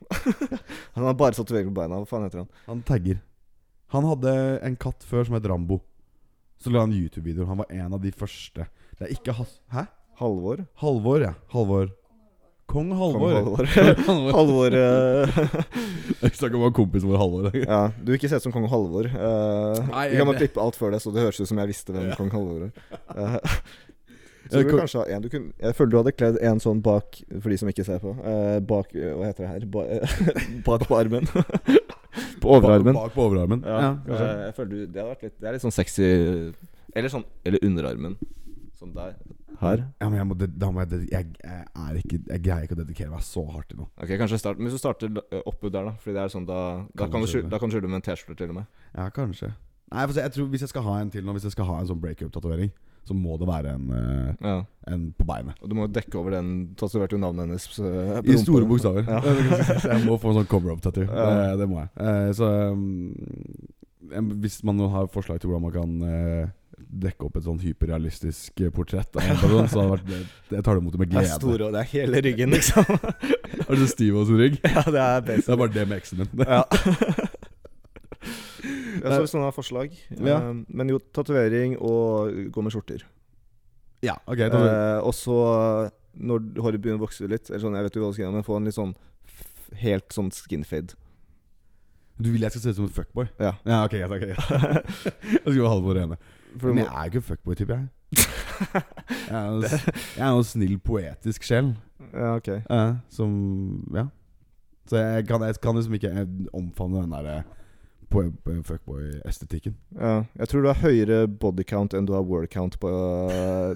[SPEAKER 2] han har bare tatovering på beina. Hva faen heter han?
[SPEAKER 1] Han tagger. Han hadde en katt før som het Rambo. Så la han YouTube-videoer. Han var en av de første. Det er ikke Has... Hæ?
[SPEAKER 2] Halvor?
[SPEAKER 1] Halvor, ja. Halvor. Kong Halvor.
[SPEAKER 2] Kong Halvor.
[SPEAKER 1] Halvor.
[SPEAKER 2] Halvor eh,
[SPEAKER 1] Jeg snakker om en kompis vår Halvor.
[SPEAKER 2] Ja, du vil ikke se ut som kong Halvor. Eh,
[SPEAKER 1] Nei,
[SPEAKER 2] vi kan bare
[SPEAKER 1] jeg-
[SPEAKER 2] klippe alt før det, så det høres ut som jeg visste hvem kong Halvor var. Eh,
[SPEAKER 1] Ja,
[SPEAKER 2] så du vil
[SPEAKER 1] kong-
[SPEAKER 2] kanskje ha en, du kunne, jeg føler du hadde kledd en sånn bak, for de som ikke ser på. eh, bak eh, Hva heter det her? Ba, bak på armen. på overarmen.
[SPEAKER 1] Bak på overarmen.
[SPEAKER 2] Ja,
[SPEAKER 1] kanskje.
[SPEAKER 2] eh, jeg føler du, det, hadde vært litt, det er litt sånn sexy Eller sånn Eller underarmen. Sånn der. Her.
[SPEAKER 1] ja men jeg, må, ded- da må jeg, ded- jeg, jeg, er ikke, jeg greier ikke å dedikere meg så hardt til noe.
[SPEAKER 2] Ok, kanskje start Men hvis du starter eh, oppe der, da. Fordi det er sånn da Da
[SPEAKER 1] Kan
[SPEAKER 2] kan
[SPEAKER 1] du
[SPEAKER 2] du skjule-
[SPEAKER 1] skjule.
[SPEAKER 2] da kan du skjule med en T-skjorte, til og med.
[SPEAKER 1] Ja, kanskje. Nei, for se, jeg tror Hvis jeg skal ha en til nå Hvis jeg skal ha en sånn breakup-tatovering, så må det være en, eh,
[SPEAKER 2] Ja.
[SPEAKER 1] en på beinet.
[SPEAKER 2] Og du må jo dekke over den tatoverte navnet hennes. eh, på
[SPEAKER 1] I store
[SPEAKER 2] rumpa.
[SPEAKER 1] bokstaver. Så jeg må få en sånn cover-up-tattoo.
[SPEAKER 2] Ja.
[SPEAKER 1] Det, det må jeg. Eh, Så mm, en- hvis man nå har forslag til hvordan man kan eh, dekke opp et sånn hyperrealistisk eh, portrett, av en person, så hadde det vært Jeg tar det imot med
[SPEAKER 2] Det er
[SPEAKER 1] glede.
[SPEAKER 2] store, og det er hele ryggen, liksom.
[SPEAKER 1] Er du så stiv og stor rygg?
[SPEAKER 2] ja, det er basic.
[SPEAKER 1] Det er bare det med eksen din.
[SPEAKER 2] Ja. Jeg så sånne forslag.
[SPEAKER 1] Ja.
[SPEAKER 2] Eh, Men jo, tatovering og gå med skjorter.
[SPEAKER 1] Ja, ok. Da,
[SPEAKER 2] Eh, og så, når håret begynner å vokse litt, eller sånn, jeg vet ikke hva du skal gjøre, men få en litt sånn f- helt sånn skin fade.
[SPEAKER 1] du vil jeg skal se ut som en fuckboy?
[SPEAKER 2] Ja.
[SPEAKER 1] Ja, ok. greit, ok, greit. Jeg skulle bare ha det på det rene.
[SPEAKER 2] For du
[SPEAKER 1] Men
[SPEAKER 2] må,
[SPEAKER 1] jeg er jo ikke en fuckboy-type, jeg. Jeg er jo s- jeg er jo en snill, poetisk sjel.
[SPEAKER 2] ja, ok.
[SPEAKER 1] eh, som Ja. Så jeg kan, jeg kan liksom ikke eh, omfavne den der eh, po- po- fuckboy-estetikken.
[SPEAKER 2] Ja. Jeg tror du har høyere body count enn du har word count på eh,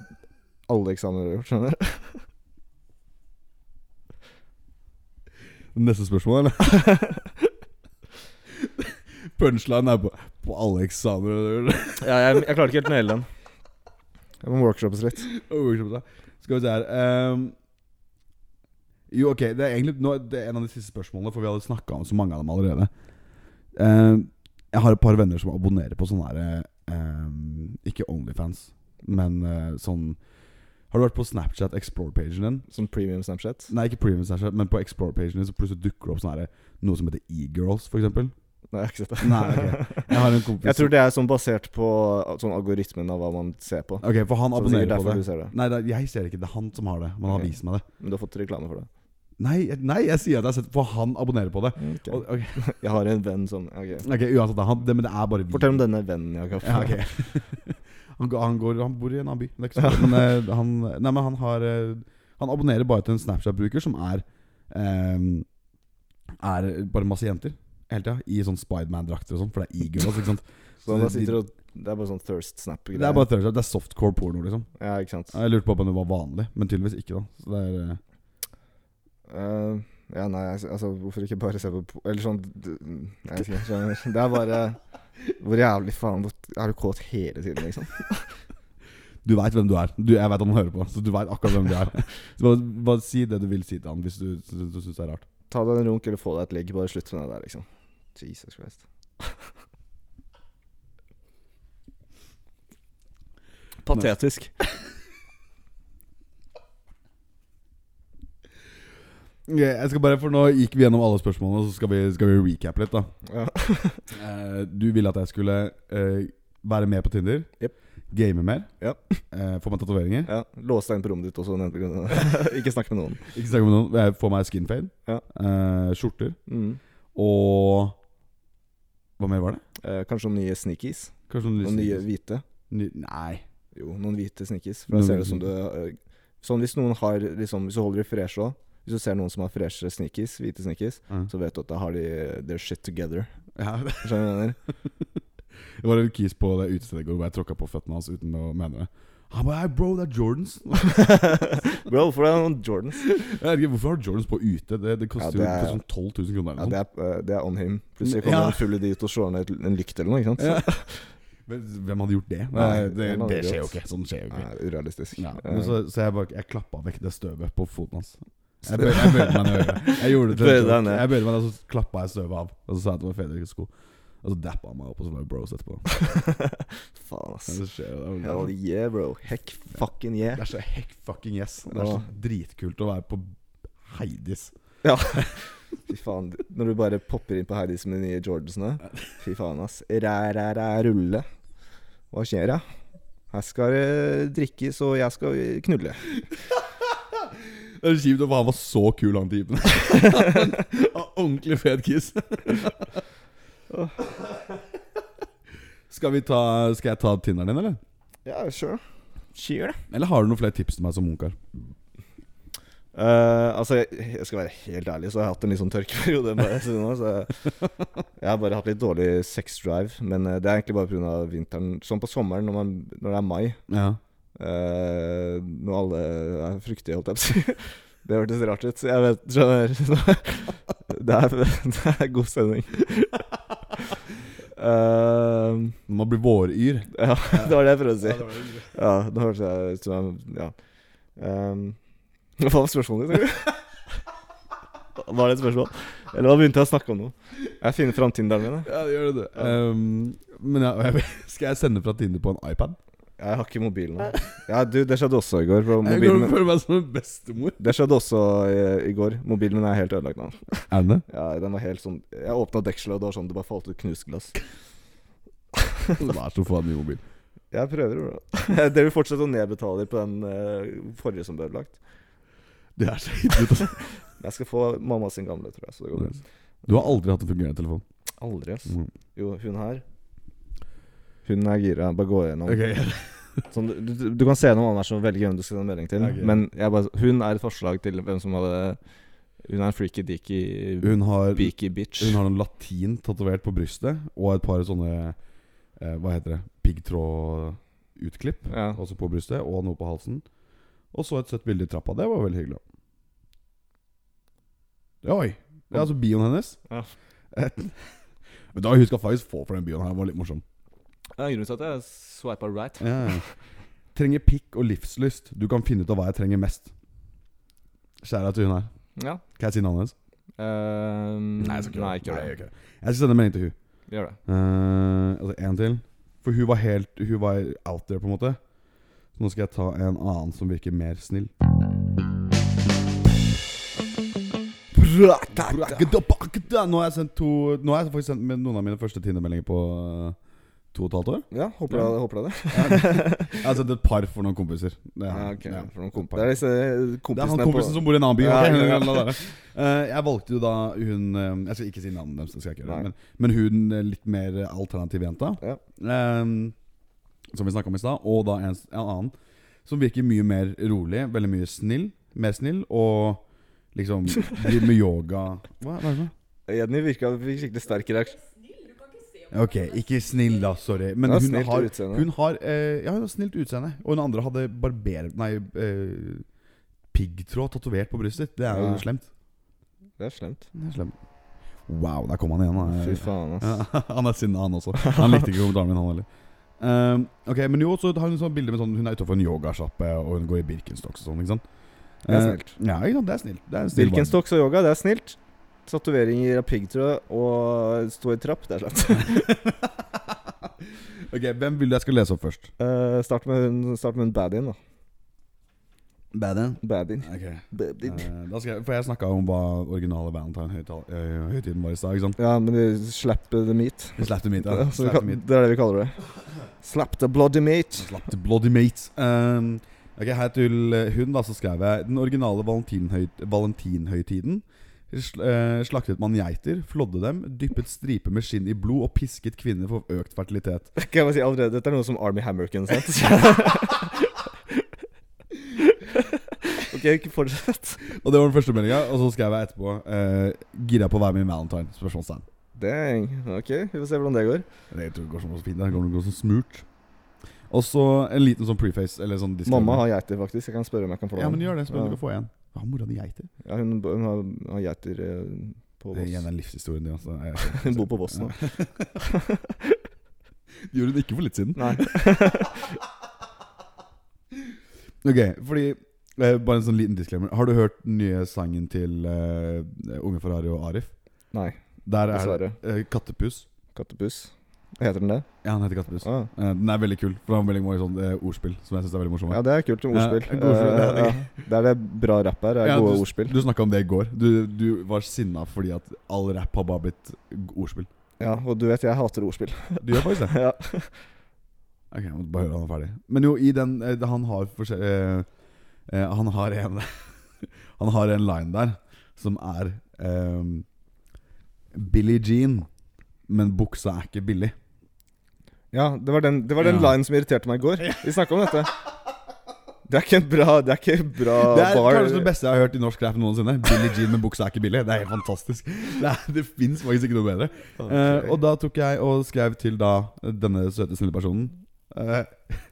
[SPEAKER 2] alle eksamener du har gjort, skjønner du?
[SPEAKER 1] Neste spørsmål, eller? Punchline er på, på alle eksamener.
[SPEAKER 2] Ja, jeg, jeg klarte ikke helt å naile den. Jeg må workshoppes litt.
[SPEAKER 1] Og workshops, da. Skal vi se her ehm, Jo, ok. Det er egentlig nå, det er en av de siste spørsmålene, for vi hadde snakka om så mange av dem allerede. Ehm, jeg har et par venner som abonnerer på sånne her ehm, Ikke Onlyfans, men eh, sånn Har du vært på Snapchat Explore-pagen din?
[SPEAKER 2] Som premium Snapchat.
[SPEAKER 1] Nei, ikke premium Snapchat, men på Explore-pagen din Så plutselig dukker det opp sånne her, noe som heter e-girls, for eksempel
[SPEAKER 2] Nei, jeg har ikke sett det.
[SPEAKER 1] Nei, ok. Jeg har en kompis
[SPEAKER 2] Jeg tror det er sånn basert på sånn algoritmen av hva man ser på.
[SPEAKER 1] Ok, for han
[SPEAKER 2] Så det er
[SPEAKER 1] abonnerer på
[SPEAKER 2] sikkert derfor
[SPEAKER 1] det.
[SPEAKER 2] du ser det.
[SPEAKER 1] Nei, det er, jeg ser det ikke. Det er han som har det. Men han har
[SPEAKER 2] Ok.
[SPEAKER 1] vist meg det.
[SPEAKER 2] Men du har fått reklame for det.
[SPEAKER 1] Nei, nei, jeg sier at jeg har sett For han abonnerer på det.
[SPEAKER 2] Ok.
[SPEAKER 1] Og- Ok,
[SPEAKER 2] Jeg har en venn som ok.
[SPEAKER 1] ok, uansett, da, han, det, men det er bare vi.
[SPEAKER 2] Fortell om denne vennen jeg har
[SPEAKER 1] Ja,
[SPEAKER 2] fått.
[SPEAKER 1] ok. han, går, han, går, han bor i en annen by. Det er ikke så farlig, men, eh, han, nei, men han har eh, Han abonnerer bare til en Snapchat-bruker som er eh, Er bare masse jenter hele tida. I sånn Spiderman-drakter og sånn, for det er e-girls, ikke sant.
[SPEAKER 2] Så han bare sitter og Det er bare sånn thirst snap-greier.
[SPEAKER 1] Det er bare Thursday. Det er softcore porno, liksom.
[SPEAKER 2] Ja, ikke sant.
[SPEAKER 1] Jeg lurte på om det var vanlig, men tydeligvis ikke, da. Så det er eh,
[SPEAKER 2] Eh, ja, nei, altså altså, hvorfor ikke bare se på po- Eller sånn d- Jeg vet ikke. Skjønner. Det er bare Hvor jævlig faen hvor- Er du kåt hele tiden, liksom?
[SPEAKER 1] Du veit hvem du er. Du, jeg veit at han hører på. Så du veit akkurat hvem du er. Så bare, bare si det du vil si til han hvis du, du, du syns det er rart.
[SPEAKER 2] Ta deg en runk eller få deg et ligg. Bare slutt med det der, liksom. Jesus Christ.
[SPEAKER 3] Patetisk.
[SPEAKER 1] Ok, Jeg skal bare, for Nå gikk vi gjennom alle spørsmålene, og så skal vi, skal vi recap litt. da
[SPEAKER 2] Ja.
[SPEAKER 1] eh, Du ville at jeg skulle eh, være med på Tinder,
[SPEAKER 2] Jep.
[SPEAKER 1] game mer,
[SPEAKER 2] Ja.
[SPEAKER 1] eh, få meg tatoveringer,
[SPEAKER 2] ja. Lås deg inn på rommet ditt også. nevnte grunnen. ikke snakk med noen.
[SPEAKER 1] Ikke snakke med noen, eh, få meg skinfade,
[SPEAKER 2] Ja.
[SPEAKER 1] eh, skjorter
[SPEAKER 2] Mm.
[SPEAKER 1] og Hva mer var det?
[SPEAKER 2] Eh, kanskje noen nye sneakies.
[SPEAKER 1] Kanskje noen
[SPEAKER 2] Noen nye
[SPEAKER 1] nye
[SPEAKER 2] hvite.
[SPEAKER 1] ny, Nei.
[SPEAKER 2] Jo, noen hvite sneakers. For
[SPEAKER 1] Noen
[SPEAKER 2] jeg ser det
[SPEAKER 1] hvite
[SPEAKER 2] som du eh, Sånn hvis noen har liksom Hvis du holder i fresh òg Hvis du ser noen som har freshe sneakers, hvite sneakers,
[SPEAKER 1] Ja.
[SPEAKER 2] så vet du at da har de their shit together.
[SPEAKER 1] Ja,
[SPEAKER 2] Skjønner du hva jeg mener?
[SPEAKER 1] Det var en kis på det utestedet i går hvor jeg tråkka på føttene hans uten å mene det. Han bare 'Hei, bro, det er Jordans'.
[SPEAKER 2] Bro, hvorfor er det noen Jordans?
[SPEAKER 1] Jeg vet ikke, Hvorfor har du Jordans på ute? Det, det koster jo
[SPEAKER 2] Ja, det er-
[SPEAKER 1] sånn 12 000 kroner.
[SPEAKER 2] Ja,
[SPEAKER 1] Eller
[SPEAKER 2] det
[SPEAKER 1] noe
[SPEAKER 2] er, eh, det er on him.
[SPEAKER 1] Ja.
[SPEAKER 2] Plutselig kommer han full dit og slår ned et- en lykt eller noe, ikke sant?
[SPEAKER 1] sånt. Men Hvem hadde gjort det? Nei,
[SPEAKER 2] Nei,
[SPEAKER 1] det,
[SPEAKER 2] hvem hadde
[SPEAKER 1] det
[SPEAKER 2] gjort
[SPEAKER 1] skjer jo
[SPEAKER 2] det?
[SPEAKER 1] ikke. Sånn skjer jo ikke.
[SPEAKER 2] Nei, urealistisk.
[SPEAKER 1] Ja,
[SPEAKER 2] Eh,
[SPEAKER 1] men så, så jeg bare Jeg klappa vekk det støvet på foten hans. Jeg bøyde, jeg bøyde meg ned. i øret. Jeg gjorde det til
[SPEAKER 2] Bøyde
[SPEAKER 1] en
[SPEAKER 2] deg
[SPEAKER 1] joke.
[SPEAKER 2] ned.
[SPEAKER 1] Jeg bøyde meg ned, og så klappa jeg støvet av. Og så sa jeg at det var Fredriks sko. Og så dappa han meg opp, og så var vi bros etterpå. Ja,
[SPEAKER 2] Faen, ass.
[SPEAKER 1] Det skjer jo det er jo-
[SPEAKER 2] Hell yeah, bro. Heck fucking yeah.
[SPEAKER 1] Det er så heck fucking yes. Det er så dritkult å være på Heidis.
[SPEAKER 2] Fy faen. Når du bare popper inn på Heidis med de nye Jordansene. Fy faen, ass. Ræ-ræ-ræ-rulle. Hva skjer, da? Her skal det drikkes, og jeg skal knulle.
[SPEAKER 1] Det er kjipt, for han var så kul, han typen. Han Ordentlig fet kiss. Skal, vi ta, skal jeg ta Tinderen din, eller?
[SPEAKER 2] Ja, sure. Sure.
[SPEAKER 1] Eller har du noen flere tips til meg som munkar?
[SPEAKER 2] Eh, altså, jeg, jeg skal være helt ærlig, så jeg har hatt en litt sånn tørkeperiode. Bare, siden nå, så jeg, jeg har bare hatt litt dårlig sex drive. Men eh, det er egentlig bare pga. vinteren. Sånn på sommeren, når, man, når det er mai,
[SPEAKER 1] Ja.
[SPEAKER 2] eh, når alle er fruktige, holdt jeg på å si. Det hørtes rart ut. så Jeg vet, skjønner. Det er, det er god stemning. Eh,
[SPEAKER 1] Når man blir våryr.
[SPEAKER 2] Ja, det var det jeg prøvde å si.
[SPEAKER 1] var det.
[SPEAKER 2] Ja, det hørtes jeg ut som jeg Ja. Ehm, hva var spørsmålet ditt? egentlig? Var det et spørsmål? Eller hva begynte jeg å snakke om nå? Jeg finner fram Tinderen min. jeg.
[SPEAKER 1] Ja, det gjør det. Ehm, men ja, jeg, skal jeg sende fra Tinder på en iPad?
[SPEAKER 2] Jeg har ikke mobilen nå. Ja, du, det skjedde også i går. For
[SPEAKER 1] Jeg går
[SPEAKER 2] mobilen
[SPEAKER 1] og
[SPEAKER 2] min.
[SPEAKER 1] føler meg som en bestemor.
[SPEAKER 2] Det skjedde også i, i går. Mobilen min er helt ødelagt nå.
[SPEAKER 1] Er den det?
[SPEAKER 2] Ja, den var helt sånn Jeg åpna dekselet, og det var sånn det bare falt ut knusglass.
[SPEAKER 1] Vær så få en ny mobil.
[SPEAKER 2] Jeg prøver, bro. Dere vil fortsette å nedbetale på den eh, forrige som ble ødelagt.
[SPEAKER 1] Det er så hittete.
[SPEAKER 2] Jeg skal få mamma sin gamle, tror jeg. Så det går bra.
[SPEAKER 1] Du har aldri hatt en fungerende telefon.
[SPEAKER 2] Aldri, ass.
[SPEAKER 1] Mm.
[SPEAKER 2] Jo, hun her Hun er gira. Bare gå gjennom.
[SPEAKER 1] Ok.
[SPEAKER 2] Sånn, du, du, du kan se gjennom hvem det er som velger hvem du skal sende melding til.
[SPEAKER 1] Ok.
[SPEAKER 2] Men jeg bare, hun er et forslag til hvem som hadde Hun er en freaky deaky
[SPEAKER 1] Hun har,
[SPEAKER 2] beaky bitch.
[SPEAKER 1] hun har en latin tatovert på brystet, og et par sånne eh, Hva heter det? Piggtrådutklipp.
[SPEAKER 2] Ja.
[SPEAKER 1] Også på brystet, og noe på halsen. Og så et søtt bilde i trappa. Det var veldig hyggelig. Ja, Oi. Det er altså bioen hennes.
[SPEAKER 2] Ja.
[SPEAKER 1] Men da husker jeg faktisk få for den bioen her. Det var litt morsom.
[SPEAKER 2] Det er en grunn til at jeg swipa right.
[SPEAKER 1] Ja. Trenger pikk og livslyst. Du kan finne ut av hva jeg trenger mest. Kjære til hun her.
[SPEAKER 2] Ja.
[SPEAKER 1] Kan jeg si navnet hennes?
[SPEAKER 2] Ehm, nei, ikke gjør det.
[SPEAKER 1] gjør det. Jeg skal sende en melding til hun
[SPEAKER 2] Gjør det.
[SPEAKER 1] Eh, altså en til. For hun var helt Hun var out there, på en måte. Så nå skal jeg ta en annen som virker mer snill. Nå har jeg sendt to Nå har jeg faktisk sendt min- noen av mine første Tinder-meldinger på eh, to og et halvt år.
[SPEAKER 2] Ja, håper
[SPEAKER 1] Ja.
[SPEAKER 2] jeg håper jeg det.
[SPEAKER 1] Jeg har sendt et par for noen kompiser. Det
[SPEAKER 2] Ja,
[SPEAKER 1] har jeg.
[SPEAKER 2] ok.
[SPEAKER 1] Ja.
[SPEAKER 2] For noen komp- det er disse eh,
[SPEAKER 1] Det er han
[SPEAKER 2] kompisene
[SPEAKER 1] kompisen som bor i en annen by.
[SPEAKER 2] Ja,
[SPEAKER 1] ok,
[SPEAKER 2] ja, ja.
[SPEAKER 1] la være. Eh, jeg valgte jo da hun eh, Jeg skal ikke si navnet deres, det skal jeg ikke
[SPEAKER 2] Nei.
[SPEAKER 1] gjøre. Men, men hun eh, litt mer alternativ jenta.
[SPEAKER 2] Ja.
[SPEAKER 1] Eh, som vi snakka om i stad. Og da en, s- en annen som virker mye mer rolig, veldig mye snill. Mer snill og liksom driver med yoga. Hva, hva er det?
[SPEAKER 2] Jenny virka fikk skikkelig sterk reaksjon.
[SPEAKER 1] for noe? Ok, ikke snill, da. Sorry. Men
[SPEAKER 2] Hun har
[SPEAKER 1] hun
[SPEAKER 2] snilt
[SPEAKER 1] har,
[SPEAKER 2] utseende.
[SPEAKER 1] hun har eh, Ja, hun har snilt utseende. Og hun andre hadde barber... Nei, eh, piggtråd tatovert på brystet. Det er jo
[SPEAKER 2] Ja.
[SPEAKER 1] slemt.
[SPEAKER 2] Det er slemt.
[SPEAKER 1] Det er slem. Wow, der kom han igjen. da.
[SPEAKER 2] Fy faen, ass.
[SPEAKER 1] Ja, han er sinna, han også. Han likte ikke kommentaren min, han heller. Ehm, ok, Men jo, så har hun sånn bilde med sånn Hun er utafor en yogasjappe, og hun går i Birkenstocks og sånn. ikke sant?
[SPEAKER 2] Det er
[SPEAKER 1] Eh,
[SPEAKER 2] snilt.
[SPEAKER 1] ja, ikke sant? Det er snilt. Det er en snill barn.
[SPEAKER 2] Birkenstocks og yoga, det er snilt. Tatoveringer av piggtråd og stå i trapp, det er slemt.
[SPEAKER 1] ok, Hvem vil du jeg skal lese opp først?
[SPEAKER 2] Eh, start med hun Start med hun baddien, da.
[SPEAKER 1] Baden.
[SPEAKER 2] Baddien. Baddien.
[SPEAKER 1] eh, da skal jeg, for jeg snakka om hva originale Valentine-høytiden eh, var i stad. ikke sant?
[SPEAKER 2] Ja, men de slapp the meat.
[SPEAKER 1] Vi slapp dem hit.
[SPEAKER 2] Ja,
[SPEAKER 1] Ja.
[SPEAKER 2] så vi
[SPEAKER 1] Slapp
[SPEAKER 2] kan,
[SPEAKER 1] dem hit.
[SPEAKER 2] det er det vi kaller det. Slap the bloody meat.
[SPEAKER 1] Slapp til bloody mates. Um, ok, Her til eh, hun, da, så skrev jeg Den originale valentinhøy valentinhøytiden sl eh, slaktet man geiter, flådde dem, dyppet striper med skinn i blod og pisket kvinner for økt fertilitet.
[SPEAKER 2] Kan jeg bare si allerede, Dette er noe som Army Hammerkin sett. ok, ikke fortsett.
[SPEAKER 1] Og det var den første meldinga. Og så skrev jeg etterpå eh, Gira på å være med i Valentine? Spørsmålstegn.
[SPEAKER 2] Dang. Ok, vi får se hvordan det går.
[SPEAKER 1] Det tror jeg går som så fint. Det går, går som smurt. Og så en liten sånn preface. Eller sånn disclaimer.
[SPEAKER 2] Mamma har geiter, faktisk. Jeg kan spørre om jeg kan få
[SPEAKER 1] Ja, men
[SPEAKER 2] den.
[SPEAKER 1] gjør det, så
[SPEAKER 2] Ja.
[SPEAKER 1] kan du få en. Hva har mora di geiter?
[SPEAKER 2] Ja, hun, hun har, har geiter eh, på
[SPEAKER 1] Det er igjen
[SPEAKER 2] Voss.
[SPEAKER 1] den livshistorien din, altså. Jeg-
[SPEAKER 2] Hun bor på Voss nå.
[SPEAKER 1] Det gjorde hun ikke for litt siden.
[SPEAKER 2] Nei.
[SPEAKER 1] Ok, fordi eh, Bare en sånn liten disclaimer. Har du hørt den nye sangen til eh, Unge Ferrari og Arif?
[SPEAKER 2] Nei,
[SPEAKER 1] Der er det
[SPEAKER 2] dessverre.
[SPEAKER 1] eh, Kattepus.
[SPEAKER 2] Kattepuss. Heter den det?
[SPEAKER 1] Ja, han heter Kattepus.
[SPEAKER 2] Ah.
[SPEAKER 1] Eh, den er veldig kul, for han har veldig mange sånn eh, ordspill som jeg syns er veldig morsomme.
[SPEAKER 2] Ja, det er kult med
[SPEAKER 1] Ja,
[SPEAKER 2] ordspill.
[SPEAKER 1] gode ordspill,
[SPEAKER 2] Eh,
[SPEAKER 1] det er det.
[SPEAKER 2] ja. Det er det bra rapp her, er
[SPEAKER 1] Ja,
[SPEAKER 2] gode
[SPEAKER 1] du,
[SPEAKER 2] ordspill.
[SPEAKER 1] Du snakka om det i går. Du, du var sinna fordi at all rap har bare blitt ordspill.
[SPEAKER 2] Ja, og du vet jeg hater ordspill.
[SPEAKER 1] Du gjør faktisk det.
[SPEAKER 2] ja.
[SPEAKER 1] Ok, jeg må bare høre han er ferdig. Men jo, i den eh, Han har forskjell... Eh, eh, han har en Han har en line der som er eh, Billie Jean, men buksa er ikke billig.
[SPEAKER 2] ja, det var den, det var den
[SPEAKER 1] Ja.
[SPEAKER 2] linen som irriterte meg i går. Vi snakka om dette. Det er ikke en bra Det er ikke en bra
[SPEAKER 1] Det er
[SPEAKER 2] bar.
[SPEAKER 1] kanskje det beste jeg har hørt i norsk rap noensinne. Billie Jean med buksa er ikke billig. Det er helt fantastisk. Det, er- det fins faktisk ikke noe bedre. Eh, og da tok jeg og skrev til da eh, denne søte, snille personen eh,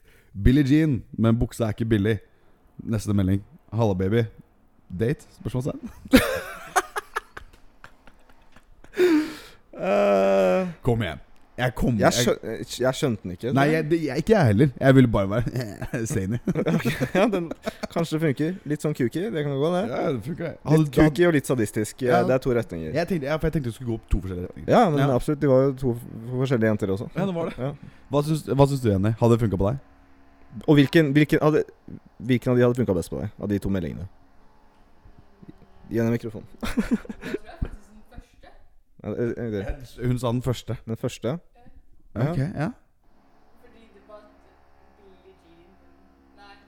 [SPEAKER 1] Billie Jean, men buksa er ikke billig. Neste melding. Halla, baby. Date? Spørsmålstegn.
[SPEAKER 2] Eh,
[SPEAKER 1] Kom igjen. Jeg kom
[SPEAKER 2] Eh, Jeg,
[SPEAKER 1] jeg-
[SPEAKER 2] skjøn, jeg skjønte den ikke.
[SPEAKER 1] Nei, jeg, det, jeg, ikke jeg heller. Jeg ville bare være zany.
[SPEAKER 2] ja, den, kanskje det funker. Litt sånn kuki, det kan gå, det.
[SPEAKER 1] Ja, det funker, det. Hadde-
[SPEAKER 2] Litt kuki og litt sadistisk. Eh,
[SPEAKER 1] Ja.
[SPEAKER 2] Det er to retninger.
[SPEAKER 1] Jeg tenkte, ja, for jeg tenkte det skulle gå opp to forskjellige retninger.
[SPEAKER 2] Ja, men
[SPEAKER 1] Ja.
[SPEAKER 2] absolutt. De var jo to f- forskjellige jenter også.
[SPEAKER 1] Ja, det var det.
[SPEAKER 2] Ja.
[SPEAKER 1] Hva syns, hva syns du, Jenny? Hadde det funka på deg?
[SPEAKER 2] Og hvilken, hvilken, hadde, hvilken av de hadde funka best på deg? Av de to meldingene? Gjennom mikrofonen. Ja, det- det- det-
[SPEAKER 1] Hun sa den første.
[SPEAKER 2] Den første? Ja.
[SPEAKER 1] Ok, ja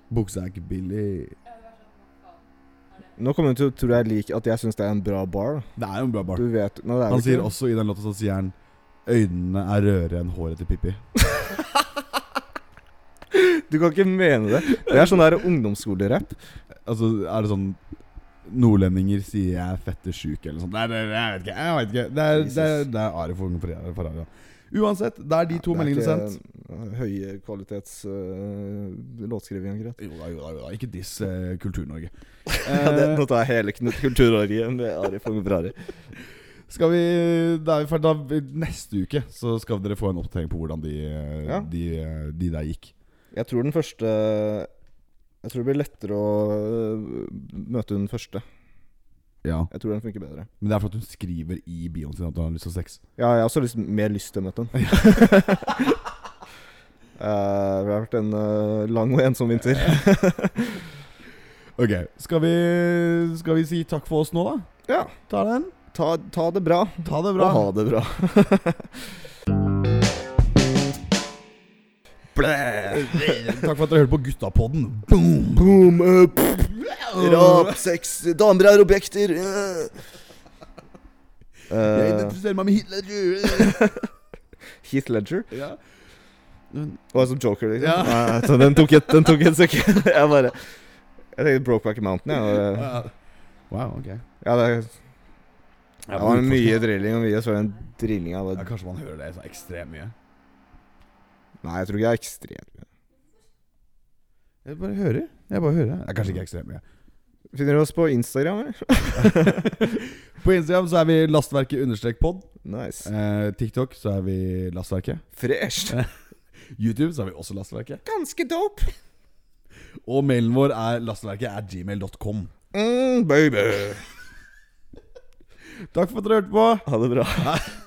[SPEAKER 1] Buksa er ikke billig.
[SPEAKER 2] Nå kommer hun til å tro jeg liker at jeg syns det er en bra bar.
[SPEAKER 1] Det er jo en bra bar.
[SPEAKER 2] Du vet Nå, det er jo
[SPEAKER 1] Han sier
[SPEAKER 2] ikke-
[SPEAKER 1] også i den låta så sier han Øynene er rødere enn håret til Pippi.
[SPEAKER 2] Du kan ikke mene det. Det er sånn der ungdomsskolerapp.
[SPEAKER 1] Altså, er det sånn Nordlendinger sier jeg er fette sjuk eller noe sånt. Nei, det, jeg vet ikke. Jeg vet ikke. Det er, det er, det er Ari for unge for Ferrari. ja. Uansett, det er de to meldingene sendt.
[SPEAKER 2] Høye kvalitets øh, låtskriving og greit.
[SPEAKER 1] Jo da, jo da, jo da. Ikke diss eh, Kultur-Norge.
[SPEAKER 2] Ja, det,
[SPEAKER 1] Eh,
[SPEAKER 2] nå tar jeg hele Knut Kulturorgien med Ari Fogh Ferrari.
[SPEAKER 1] Skal vi Da er vi ferdig. Da, neste uke så skal dere få en oppdatering på hvordan de, eh,
[SPEAKER 2] Ja.
[SPEAKER 1] de, eh, de der gikk.
[SPEAKER 2] Jeg tror den første Jeg tror det blir lettere å øh, møte den første.
[SPEAKER 1] Ja.
[SPEAKER 2] Jeg tror den funker bedre.
[SPEAKER 1] Men det er for at hun skriver i bioen sin at hun har lyst til sex.
[SPEAKER 2] Ja, jeg har også lyst, mer lyst til å møte den. Eh, det har vært en eh, lang og ensom vinter.
[SPEAKER 1] Ok, skal vi, skal vi si takk for oss nå, da?
[SPEAKER 2] Ja,
[SPEAKER 1] Ta den.
[SPEAKER 2] ta, ta det bra.
[SPEAKER 1] Ta det
[SPEAKER 2] Og ha det bra.
[SPEAKER 1] takk for at dere hørte på Guttapodden. Boom!
[SPEAKER 2] Boom up! Rap, sex, damer er objekter.
[SPEAKER 1] Jeg
[SPEAKER 2] Uh,
[SPEAKER 1] identifiserer meg med Hitler.
[SPEAKER 2] Heath Ledger.
[SPEAKER 1] ja. Men-
[SPEAKER 2] Og jeg som joker, liksom.
[SPEAKER 1] Ja.
[SPEAKER 2] Nei, så den tok et, den tok et sekund. Jeg bare Jeg tenkte Brokeback Mountain, jeg. og, eh,
[SPEAKER 1] Wow, ok.
[SPEAKER 2] Ja, det, det var mye drilling og mye så den drillinga
[SPEAKER 1] Ja,
[SPEAKER 2] var
[SPEAKER 1] kanskje man hører det så ekstremt mye.
[SPEAKER 2] Nei, jeg tror ikke det er ekstremt.
[SPEAKER 1] Jeg bare hører. Jeg bare hører. Det er kanskje ikke ekstremt mye.
[SPEAKER 2] Finner du oss på Instagram, eller?
[SPEAKER 1] På Instagram så er vi lastverket-pod.
[SPEAKER 2] Nice.
[SPEAKER 1] Eh, TikTok så er vi lastverket.
[SPEAKER 2] Fresh.
[SPEAKER 1] YouTube så er vi også lastverket.
[SPEAKER 2] Ganske dope.
[SPEAKER 1] Og mailen vår er lastverket er gmail.com.
[SPEAKER 2] Mm, baby.
[SPEAKER 1] Takk for at dere hørte på.
[SPEAKER 2] Ha det bra.